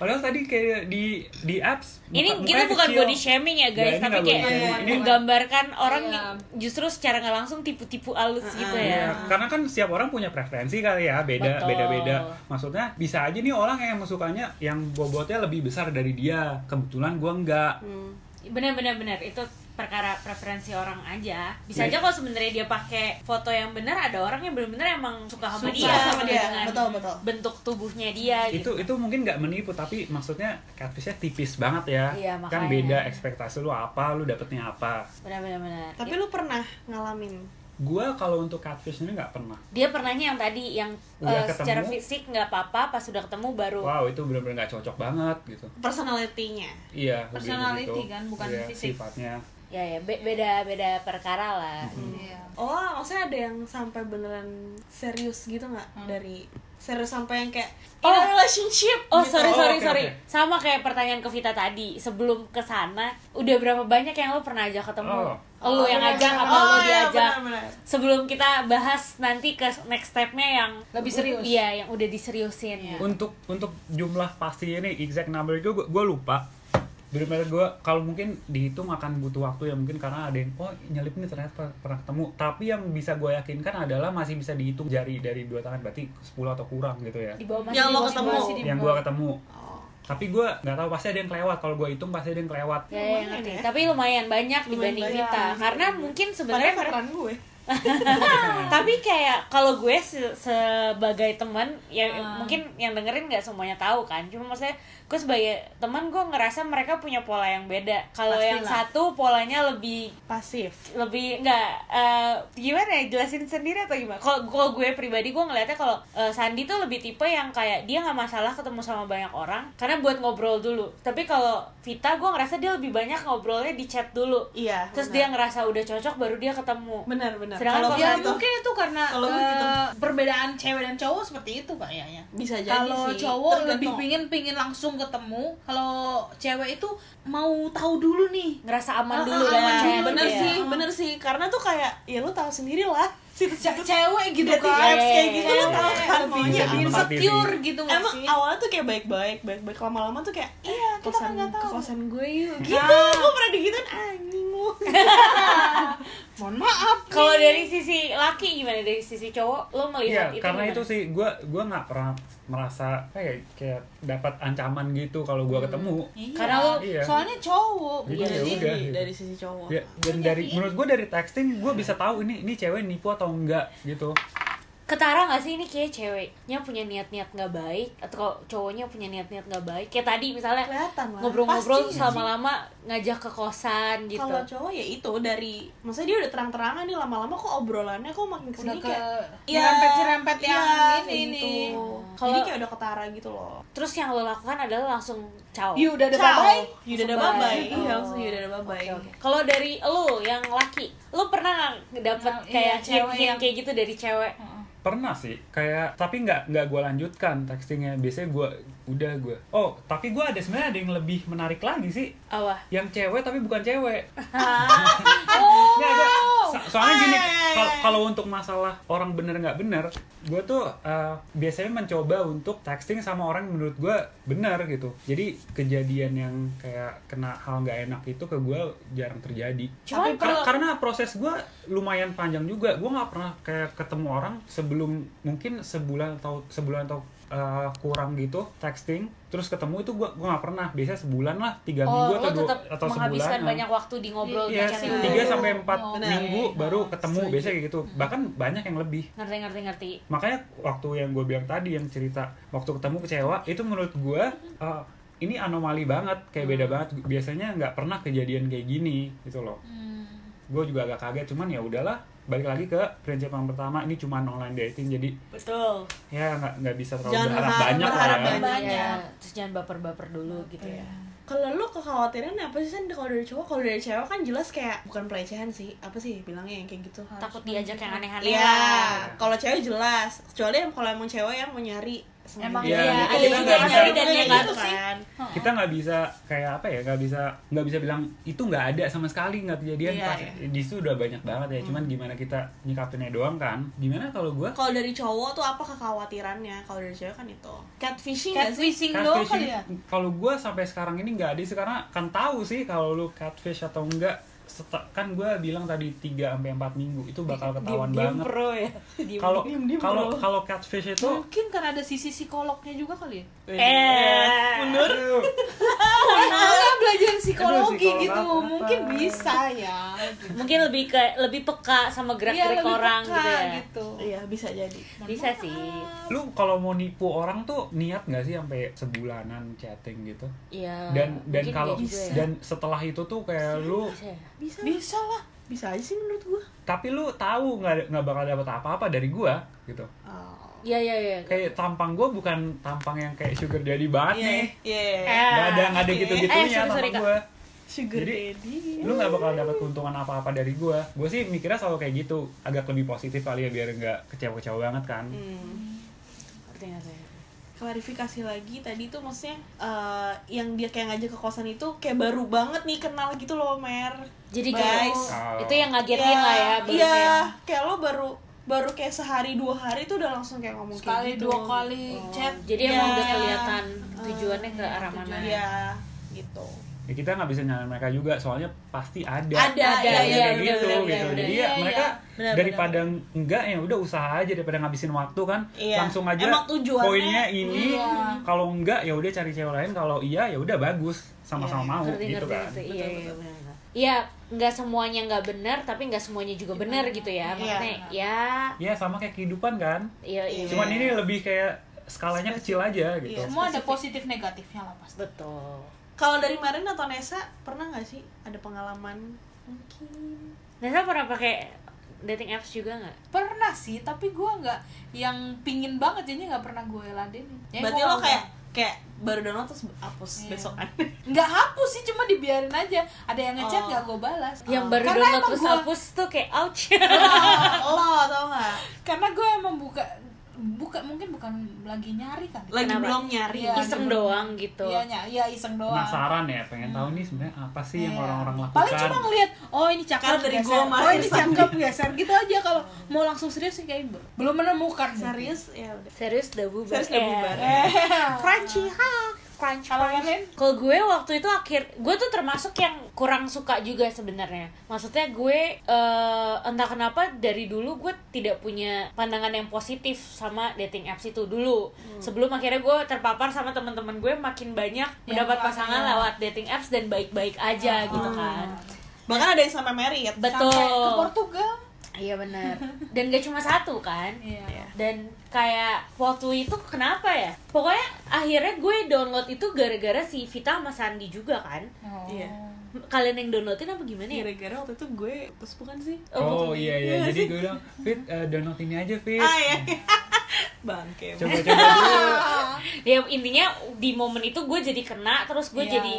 Speaker 2: Padahal tadi kayak di di apps muka-
Speaker 3: Ini kita
Speaker 2: mukanya
Speaker 3: bukan
Speaker 2: kecil.
Speaker 3: body shaming ya guys,
Speaker 2: Nggak, ini
Speaker 3: tapi
Speaker 2: nggak
Speaker 3: kayak
Speaker 2: body shaming. Ini-
Speaker 3: menggambarkan orang
Speaker 4: Iya. Ah,
Speaker 3: justru secara nggak langsung tipu-tipu alus gitu
Speaker 2: Iya,
Speaker 3: ya.
Speaker 2: karena kan setiap orang punya preferensi kali ya, beda
Speaker 3: Betul.
Speaker 2: beda beda. Maksudnya bisa aja nih orang yang sukanya yang bobotnya lebih besar dari dia. Kebetulan gua enggak.
Speaker 1: Hmm.
Speaker 2: Iya.
Speaker 3: Benar-benar benar itu perkara preferensi orang aja. Bisa
Speaker 2: Iya.
Speaker 3: aja kalau sebenarnya dia pakai foto yang benar ada orang yang benar-benar emang suka sama
Speaker 1: Suka
Speaker 3: dia
Speaker 1: sama dia,
Speaker 3: dengan
Speaker 4: betul, betul.
Speaker 3: bentuk tubuhnya dia
Speaker 2: itu
Speaker 3: gitu.
Speaker 2: itu mungkin nggak menipu tapi maksudnya catfishnya tipis banget ya
Speaker 3: Iya,
Speaker 2: kan
Speaker 3: makanya.
Speaker 2: beda ekspektasi lu apa lu dapetnya apa
Speaker 3: Benar-benar benar.
Speaker 1: tapi lu pernah ngalamin
Speaker 2: gua kalau untuk catfish ini nggak pernah
Speaker 3: dia pernahnya yang tadi yang
Speaker 2: Udah
Speaker 3: eh, secara
Speaker 2: ketemu.
Speaker 3: fisik nggak apa-apa pas udah ketemu baru
Speaker 2: wow itu benar-benar nggak cocok banget gitu
Speaker 1: personality-nya
Speaker 2: iya lebih
Speaker 4: Personality
Speaker 2: begitu.
Speaker 4: kan, bukan
Speaker 2: Iya,
Speaker 4: fisik.
Speaker 2: sifatnya
Speaker 3: ya ya be- beda beda perkara lah
Speaker 4: Iya.
Speaker 1: oh maksudnya ada yang sampai beneran serius gitu nggak
Speaker 3: Hmm.
Speaker 1: dari serius sampai yang kayak
Speaker 3: Oh.
Speaker 1: in a relationship
Speaker 3: Oh
Speaker 1: gitu.
Speaker 3: sorry
Speaker 2: Oh,
Speaker 3: sorry
Speaker 2: oke,
Speaker 3: sorry
Speaker 2: oke.
Speaker 3: sama kayak pertanyaan ke Vita tadi sebelum ke sana udah berapa banyak yang lo pernah ajak ketemu
Speaker 2: Oh.
Speaker 3: lo yang ajak apa
Speaker 1: Oh,
Speaker 3: lo
Speaker 1: iya,
Speaker 3: diajak
Speaker 1: benar-benar.
Speaker 3: sebelum kita bahas nanti ke next stepnya yang
Speaker 4: Lebih serius.
Speaker 3: iya yang udah diseriusin
Speaker 1: Iya.
Speaker 2: untuk untuk jumlah pasti ini exact number itu gua, gua lupa benar-benar gue kalau mungkin dihitung akan butuh waktu ya mungkin karena ada yang oh nyelip nih ternyata per- pernah ketemu tapi yang bisa gue yakinkan adalah masih bisa dihitung jari dari dua tangan berarti 10 atau kurang gitu ya
Speaker 3: di bawah masih
Speaker 1: Yang
Speaker 3: di
Speaker 1: lo
Speaker 3: bawah-
Speaker 1: ketemu.
Speaker 3: masih di
Speaker 2: yang
Speaker 3: bawah.
Speaker 2: gua ketemu
Speaker 1: Oh.
Speaker 2: tapi gue nggak tahu pasti ada yang kelewat kalau gue hitung pasti ada yang kelewat
Speaker 3: Ya, ya,
Speaker 1: Lumayan
Speaker 3: ngerti.
Speaker 1: ya.
Speaker 3: tapi lumayan banyak dibanding
Speaker 1: banyak.
Speaker 3: Vita karena mungkin sebenarnya
Speaker 1: Padahal veteran gue
Speaker 3: tapi kayak kalau gue se- sebagai teman ya
Speaker 4: Ah.
Speaker 3: mungkin yang dengerin nggak semuanya tahu kan cuma maksudnya gue sebagai teman gue ngerasa mereka punya pola yang beda kalau yang
Speaker 4: Pastilah.
Speaker 3: satu polanya lebih
Speaker 1: pasif
Speaker 3: lebih nggak eh, gimana ya jelasin sendiri atau gimana kalau kalau gue pribadi gue ngeliatnya kalau eh, Sandi tuh lebih tipe yang kayak dia nggak masalah ketemu sama banyak orang karena buat ngobrol dulu tapi kalau Vita gue ngerasa dia lebih banyak ngobrolnya di chat dulu
Speaker 1: iya
Speaker 3: terus dia ngerasa udah cocok baru dia ketemu
Speaker 1: benar benar
Speaker 3: Sedangkan
Speaker 1: kalau
Speaker 3: kalau
Speaker 4: Ya
Speaker 1: gitu
Speaker 4: mungkin itu karena
Speaker 1: Kalau gue
Speaker 4: eh,
Speaker 1: gitu.
Speaker 4: perbedaan cewek dan cowok seperti itu kayaknya.
Speaker 1: bisa jadi
Speaker 4: Kalau
Speaker 1: sih
Speaker 4: cowok
Speaker 1: Tergantung.
Speaker 4: lebih pingin pingin langsung ketemu, kalau cewek itu mau tahu dulu nih.
Speaker 3: ngerasa aman
Speaker 1: Ah,
Speaker 3: dulu
Speaker 1: ah,
Speaker 3: kan
Speaker 1: aman dulu,
Speaker 3: gitu
Speaker 1: bener
Speaker 3: ya.
Speaker 1: sih bener sih karena tuh kayak ya lu tahu sendiri lah situs
Speaker 3: Iya,
Speaker 4: Ce- cewek gitu
Speaker 1: dating
Speaker 4: kan.
Speaker 1: apps kayak gitu lu
Speaker 2: Iya,
Speaker 1: tahu
Speaker 2: iya,
Speaker 1: kan
Speaker 4: Lebih
Speaker 1: maunya
Speaker 2: Bisa
Speaker 4: jadi
Speaker 2: tempat
Speaker 1: apa.
Speaker 2: di-
Speaker 4: insecure gitu nggak
Speaker 1: emang
Speaker 4: sih?
Speaker 1: awalnya tuh kayak baik-baik baik-baik lama-lama tuh kayak iya
Speaker 4: kita kan nggak tahu.
Speaker 1: kosan gue yuk Kan gitu
Speaker 4: Nah.
Speaker 1: gue pernah digituin anjing lu
Speaker 4: Mohon maaf.
Speaker 3: kalau dari sisi laki gimana dari sisi cowok lo
Speaker 2: Iya,
Speaker 3: melihat itu
Speaker 2: karena
Speaker 3: gimana?
Speaker 2: itu sih gue gua nggak pernah merasa kayak kayak dapat ancaman gitu kalau gue ketemu.
Speaker 4: Iya.
Speaker 3: Karena lo-
Speaker 2: Iya.
Speaker 4: soalnya cowok.
Speaker 2: Jadi
Speaker 1: Iya,
Speaker 2: ya
Speaker 1: jadi
Speaker 2: udah, gitu.
Speaker 1: dari sisi cowok
Speaker 2: Ya, dan dari menurut gue dari texting gue bisa tahu ini ini cewek nipu atau enggak gitu.
Speaker 3: ketara nggak sih ini kayak ceweknya punya niat-niat nggak baik atau kalau cowoknya punya niat-niat nggak baik kayak tadi misalnya
Speaker 1: kelihatan lah
Speaker 3: ngobrol-ngobrol
Speaker 1: Pasti
Speaker 3: terus
Speaker 1: nggak sih?
Speaker 3: lama-lama ngajak ke kosan gitu
Speaker 1: kalau cowok ya itu dari maksudnya dia udah terang-terangan nih lama-lama kok obrolannya kok makin kesini
Speaker 4: Udah ke
Speaker 1: kayak
Speaker 4: ya, nyerempet-nyerempet
Speaker 1: iya,
Speaker 4: yang ini
Speaker 1: kayak
Speaker 4: nih.
Speaker 1: gitu.
Speaker 3: Kalau-
Speaker 1: jadi kayak udah ketara gitu loh
Speaker 3: terus yang lo lakukan adalah langsung caw
Speaker 4: You udah ada
Speaker 1: Ciao.
Speaker 4: bye-bye.
Speaker 1: You udah ada
Speaker 3: Bye.
Speaker 1: bye-bye.
Speaker 3: Oh.
Speaker 1: Iya, langsung you udah ada bye-bye.
Speaker 3: Oke, oke. kalau dari lo yang laki lo pernah nggak dapet
Speaker 4: Nah, iya,
Speaker 3: kayak
Speaker 4: cewek
Speaker 3: hint-hint
Speaker 4: yang-
Speaker 3: kayak gitu dari cewek
Speaker 2: Pernah sih, kayak tapi nggak nggak gue lanjutkan textingnya. Biasanya gue udah gue. Oh, tapi gue ada sebenarnya ada yang lebih menarik lagi sih,
Speaker 3: awah <laughs>
Speaker 2: yang cewek tapi bukan cewek.
Speaker 3: Ah.
Speaker 2: Nggak ada. So- soalnya gini, kal- kalau untuk masalah orang bener nggak bener, gue tuh eh, biasanya mencoba untuk texting sama orang yang menurut gue bener gitu. Jadi kejadian yang kayak kena hal nggak enak itu ke gue jarang terjadi.
Speaker 3: Cuman
Speaker 2: Tapi kar-
Speaker 3: kalau-
Speaker 2: karena proses gue lumayan panjang juga, gue nggak pernah kayak ketemu orang sebelum mungkin sebulan atau sebulan atau eh, kurang gitu texting terus ketemu itu gua gua nggak pernah biasanya sebulan lah tiga
Speaker 3: oh,
Speaker 2: minggu
Speaker 3: lo
Speaker 2: atau dua
Speaker 3: tetap
Speaker 2: atau
Speaker 3: menghabiskan
Speaker 2: sebulan eh.
Speaker 3: banyak waktu di ngobrol di
Speaker 2: Yes,
Speaker 3: chat
Speaker 1: Iya.
Speaker 3: itu.
Speaker 2: tiga sampai empat
Speaker 4: Oh,
Speaker 1: benar.
Speaker 2: minggu baru ketemu
Speaker 1: Setuju.
Speaker 2: biasanya kayak gitu bahkan banyak yang lebih
Speaker 3: ngerti ngerti ngerti
Speaker 2: makanya waktu yang gue bilang tadi yang cerita waktu ketemu kecewa itu menurut gue eh, ini anomali banget kayak beda banget biasanya nggak pernah kejadian kayak gini gitu loh gue juga agak kaget cuman ya udahlah balik lagi ke prinsip yang pertama ini cuman online dating jadi
Speaker 1: betul
Speaker 2: ya nggak nggak bisa terlalu
Speaker 1: Jangan
Speaker 2: berharap
Speaker 1: berharap-
Speaker 2: banyak lah
Speaker 1: berharap
Speaker 2: ya
Speaker 1: banyak. Iya.
Speaker 3: Iya, terus jangan baper-baper dulu gitu ya
Speaker 1: kalau lu kekhawatiran apa sih San kalau dari cowok kalau dari cewek kan jelas kayak bukan pelecehan sih apa sih bilangnya yang kayak gitu
Speaker 3: takut diajak yang aneh-aneh
Speaker 1: Iya,
Speaker 3: lah.
Speaker 1: kalau cewek jelas. Kecuali yang kalau emang cewek yang mau nyari sendiri.
Speaker 4: Emang
Speaker 2: Iya,
Speaker 3: iya,
Speaker 2: gitu
Speaker 3: ada
Speaker 2: kita
Speaker 3: juga yang
Speaker 2: nggak
Speaker 3: nyari
Speaker 2: bisa-
Speaker 3: dan
Speaker 1: Kayak
Speaker 3: yang
Speaker 1: gitu
Speaker 3: nggak
Speaker 1: sih.
Speaker 3: kan
Speaker 2: kita nggak bisa kayak apa ya nggak bisa nggak bisa bilang itu nggak ada sama sekali nggak kejadian
Speaker 1: Iya,
Speaker 2: pas
Speaker 1: iya.
Speaker 2: di situ udah banyak banget ya cuman gimana kita nyikapinnya doang kan gimana kalau gue
Speaker 1: Kalau dari cowok tuh apa kekhawatirannya? Kalau dari cewek kan itu catfishing nggak sih?
Speaker 4: catfishing doang kali
Speaker 2: catfishing
Speaker 4: ya
Speaker 2: kalau gue sampai sekarang ini nggak ada sih karena kan tahu sih kalau lu catfish atau enggak Seta- kan gue bilang tadi 3 sampai 4 minggu itu bakal ketahuan
Speaker 3: Diem-diem
Speaker 2: banget
Speaker 3: pro ya Diem-
Speaker 2: kalau
Speaker 3: diem-diem
Speaker 2: kalau
Speaker 3: pro.
Speaker 2: kalau catfish itu
Speaker 4: mungkin karena ada sisi psikolognya juga kali ya
Speaker 3: eh
Speaker 2: mundur
Speaker 4: Karena belajar
Speaker 2: Aduh,
Speaker 4: psikologi
Speaker 2: psikolog
Speaker 4: gitu
Speaker 2: apa?
Speaker 4: mungkin bisa ya
Speaker 3: mungkin lebih ke lebih peka
Speaker 4: Iya,
Speaker 3: sama gerak-gerik
Speaker 4: lebih
Speaker 3: orang
Speaker 4: peka
Speaker 3: gitu ya
Speaker 4: gitu.
Speaker 1: Iya, bisa jadi.
Speaker 3: bisa sih
Speaker 2: lu kalau mau nipu orang tuh niat nggak sih sampai sebulanan chatting gitu
Speaker 3: iya
Speaker 2: dan dan
Speaker 3: mungkin
Speaker 2: kalau
Speaker 3: iya juga ya.
Speaker 2: dan setelah itu tuh kayak lu
Speaker 3: Bisa ya.
Speaker 1: Bisa.
Speaker 4: bisa lah
Speaker 1: Bisa aja sih menurut gua.
Speaker 2: tapi lu tahu nggak nggak bakal dapet apa-apa dari gua gitu
Speaker 1: Oh.
Speaker 3: iya iya iya
Speaker 2: kayak tampang gua bukan tampang yang kayak sugar daddy banget
Speaker 1: Iya,
Speaker 2: nih
Speaker 1: iya.
Speaker 3: Eh.
Speaker 2: nggak ada nggak ada
Speaker 1: Oke.
Speaker 2: gitu
Speaker 3: Eh,
Speaker 2: gitunya
Speaker 3: sorry, sorry,
Speaker 2: tampang
Speaker 3: Kak.
Speaker 2: gua
Speaker 1: Sugar
Speaker 2: Jadi,
Speaker 1: daddy.
Speaker 2: lu nggak bakal dapet keuntungan apa-apa dari gua gua sih mikirnya selalu kayak gitu agak lebih positif kali ya biar nggak kecewa-kecewa banget kan
Speaker 1: Hmm.
Speaker 3: ngerti ngerti
Speaker 1: Klarifikasi lagi tadi tuh maksudnya eh, yang dia kayak ngajak ke kosan itu kayak baru banget nih kenal gitu loh, Mer.
Speaker 3: jadi guys
Speaker 1: Guys.
Speaker 2: Oh.
Speaker 3: itu yang ngagetin
Speaker 1: Iya,
Speaker 3: lah ya baru
Speaker 1: iya
Speaker 3: kayak-
Speaker 1: kayak lo baru baru kayak sehari dua hari tuh udah langsung kayak ngomong kayak
Speaker 4: sekali
Speaker 1: gitu.
Speaker 4: dua kali
Speaker 3: Oh,
Speaker 4: chat
Speaker 3: jadi
Speaker 1: Iya.
Speaker 3: emang udah kelihatan tujuannya ke arah mana
Speaker 1: iya gitu
Speaker 2: ya kita nggak bisa nyalain mereka juga soalnya pasti ada
Speaker 1: Ada,
Speaker 2: Ada
Speaker 1: iya,
Speaker 2: kayak
Speaker 1: iya,
Speaker 2: gitu
Speaker 1: benar, benar,
Speaker 2: gitu
Speaker 1: benar.
Speaker 2: jadi
Speaker 4: Iya,
Speaker 2: ya mereka
Speaker 1: iya. Benar,
Speaker 2: daripada enggak ya udah usaha aja daripada ngabisin waktu kan
Speaker 1: Iya.
Speaker 2: langsung aja
Speaker 1: Emang tujuannya-
Speaker 2: poinnya ini
Speaker 4: Iya.
Speaker 2: kalau enggak ya udah cari cewek lain kalau iya ya udah bagus sama-sama mau
Speaker 3: ngerti
Speaker 2: gitu
Speaker 3: ngerti
Speaker 2: kan
Speaker 3: ngerti iya iya benar. iya nggak semuanya nggak benar tapi nggak semuanya juga benar gitu ya maksudnya ya
Speaker 2: ya sama kayak kehidupan kan
Speaker 3: iya iya
Speaker 2: cuman ini lebih kayak skalanya kecil aja gitu
Speaker 1: Iya.
Speaker 4: semua ada positif negatifnya lah pasti
Speaker 3: betul
Speaker 1: kalau dari Marin atau Nesa pernah nggak sih ada pengalaman mungkin
Speaker 3: Nessa pernah pakai dating apps juga nggak
Speaker 4: pernah sih tapi gue nggak yang pingin banget jadinya nggak pernah gue ladenin Ya,
Speaker 1: berarti
Speaker 4: gua
Speaker 1: lo
Speaker 4: nggak-
Speaker 1: kayak kayak baru download terus hapus
Speaker 4: Iya. <laughs>
Speaker 1: besokan
Speaker 4: nggak hapus sih cuma dibiarin aja ada yang ngechat
Speaker 1: Oh.
Speaker 4: nggak gue balas
Speaker 3: yang baru
Speaker 4: Karena
Speaker 3: download
Speaker 4: emang
Speaker 3: terus
Speaker 4: gua-
Speaker 3: hapus tuh kayak ouch
Speaker 1: lo lo Oh, tau nggak
Speaker 4: karena gue emang buka buka mungkin bukan lagi nyari kan
Speaker 1: lagi
Speaker 3: Kenapa?
Speaker 1: belum nyari
Speaker 4: Iya.
Speaker 3: iseng doang gitu
Speaker 4: Iya, ya, ya iseng doang.
Speaker 2: penasaran ya pengen tahu nih sebenarnya apa sih yang
Speaker 4: Iya.
Speaker 2: orang-orang lakukan
Speaker 4: Paling cuma ngeliat, oh ini cakep
Speaker 1: Kalau dari
Speaker 4: geser.
Speaker 1: gua mah
Speaker 4: oh ini
Speaker 1: Irfan.
Speaker 4: cakep geser gitu aja kalau mau langsung serius sih kayak belum menemukan. <laughs>
Speaker 1: serius ya udah
Speaker 3: serius udah bubar
Speaker 1: serius udah
Speaker 3: Eh.
Speaker 1: bubar
Speaker 4: Iya.
Speaker 3: crunchy ha crunch
Speaker 4: Kalau
Speaker 3: crunch.
Speaker 4: Erin?
Speaker 3: kalau gue waktu itu akhir gue tuh termasuk yang kurang suka juga sebenarnya maksudnya gue eh, entah kenapa dari dulu gue tidak punya pandangan yang positif sama dating apps itu dulu sebelum akhirnya gue terpapar sama teman-teman gue makin banyak mendapat
Speaker 4: pakai.
Speaker 3: pasangan lewat dating apps dan baik-baik aja gitu kan
Speaker 1: bahkan ada yang sampai merit
Speaker 3: betul
Speaker 4: Sampai ke Portugal.
Speaker 3: Iya benar. Dan gak cuma satu kan?
Speaker 4: Iya.
Speaker 3: Dan kayak waktu itu kenapa ya? Pokoknya akhirnya gue download itu gara-gara si Vita sama Sandi juga kan?
Speaker 4: Oh.
Speaker 1: Iya.
Speaker 3: Kalian yang downloadin apa gimana ya?
Speaker 1: gara-gara waktu itu gue terus bukan sih
Speaker 2: oh iya iya
Speaker 1: Iya
Speaker 2: jadi
Speaker 1: sih.
Speaker 2: gue bilang fit eh, download ini aja fit
Speaker 1: ah ya <laughs> bangke
Speaker 2: coba-coba dulu
Speaker 3: Ya intinya di momen itu gue jadi kena terus gue
Speaker 4: Iya.
Speaker 3: jadi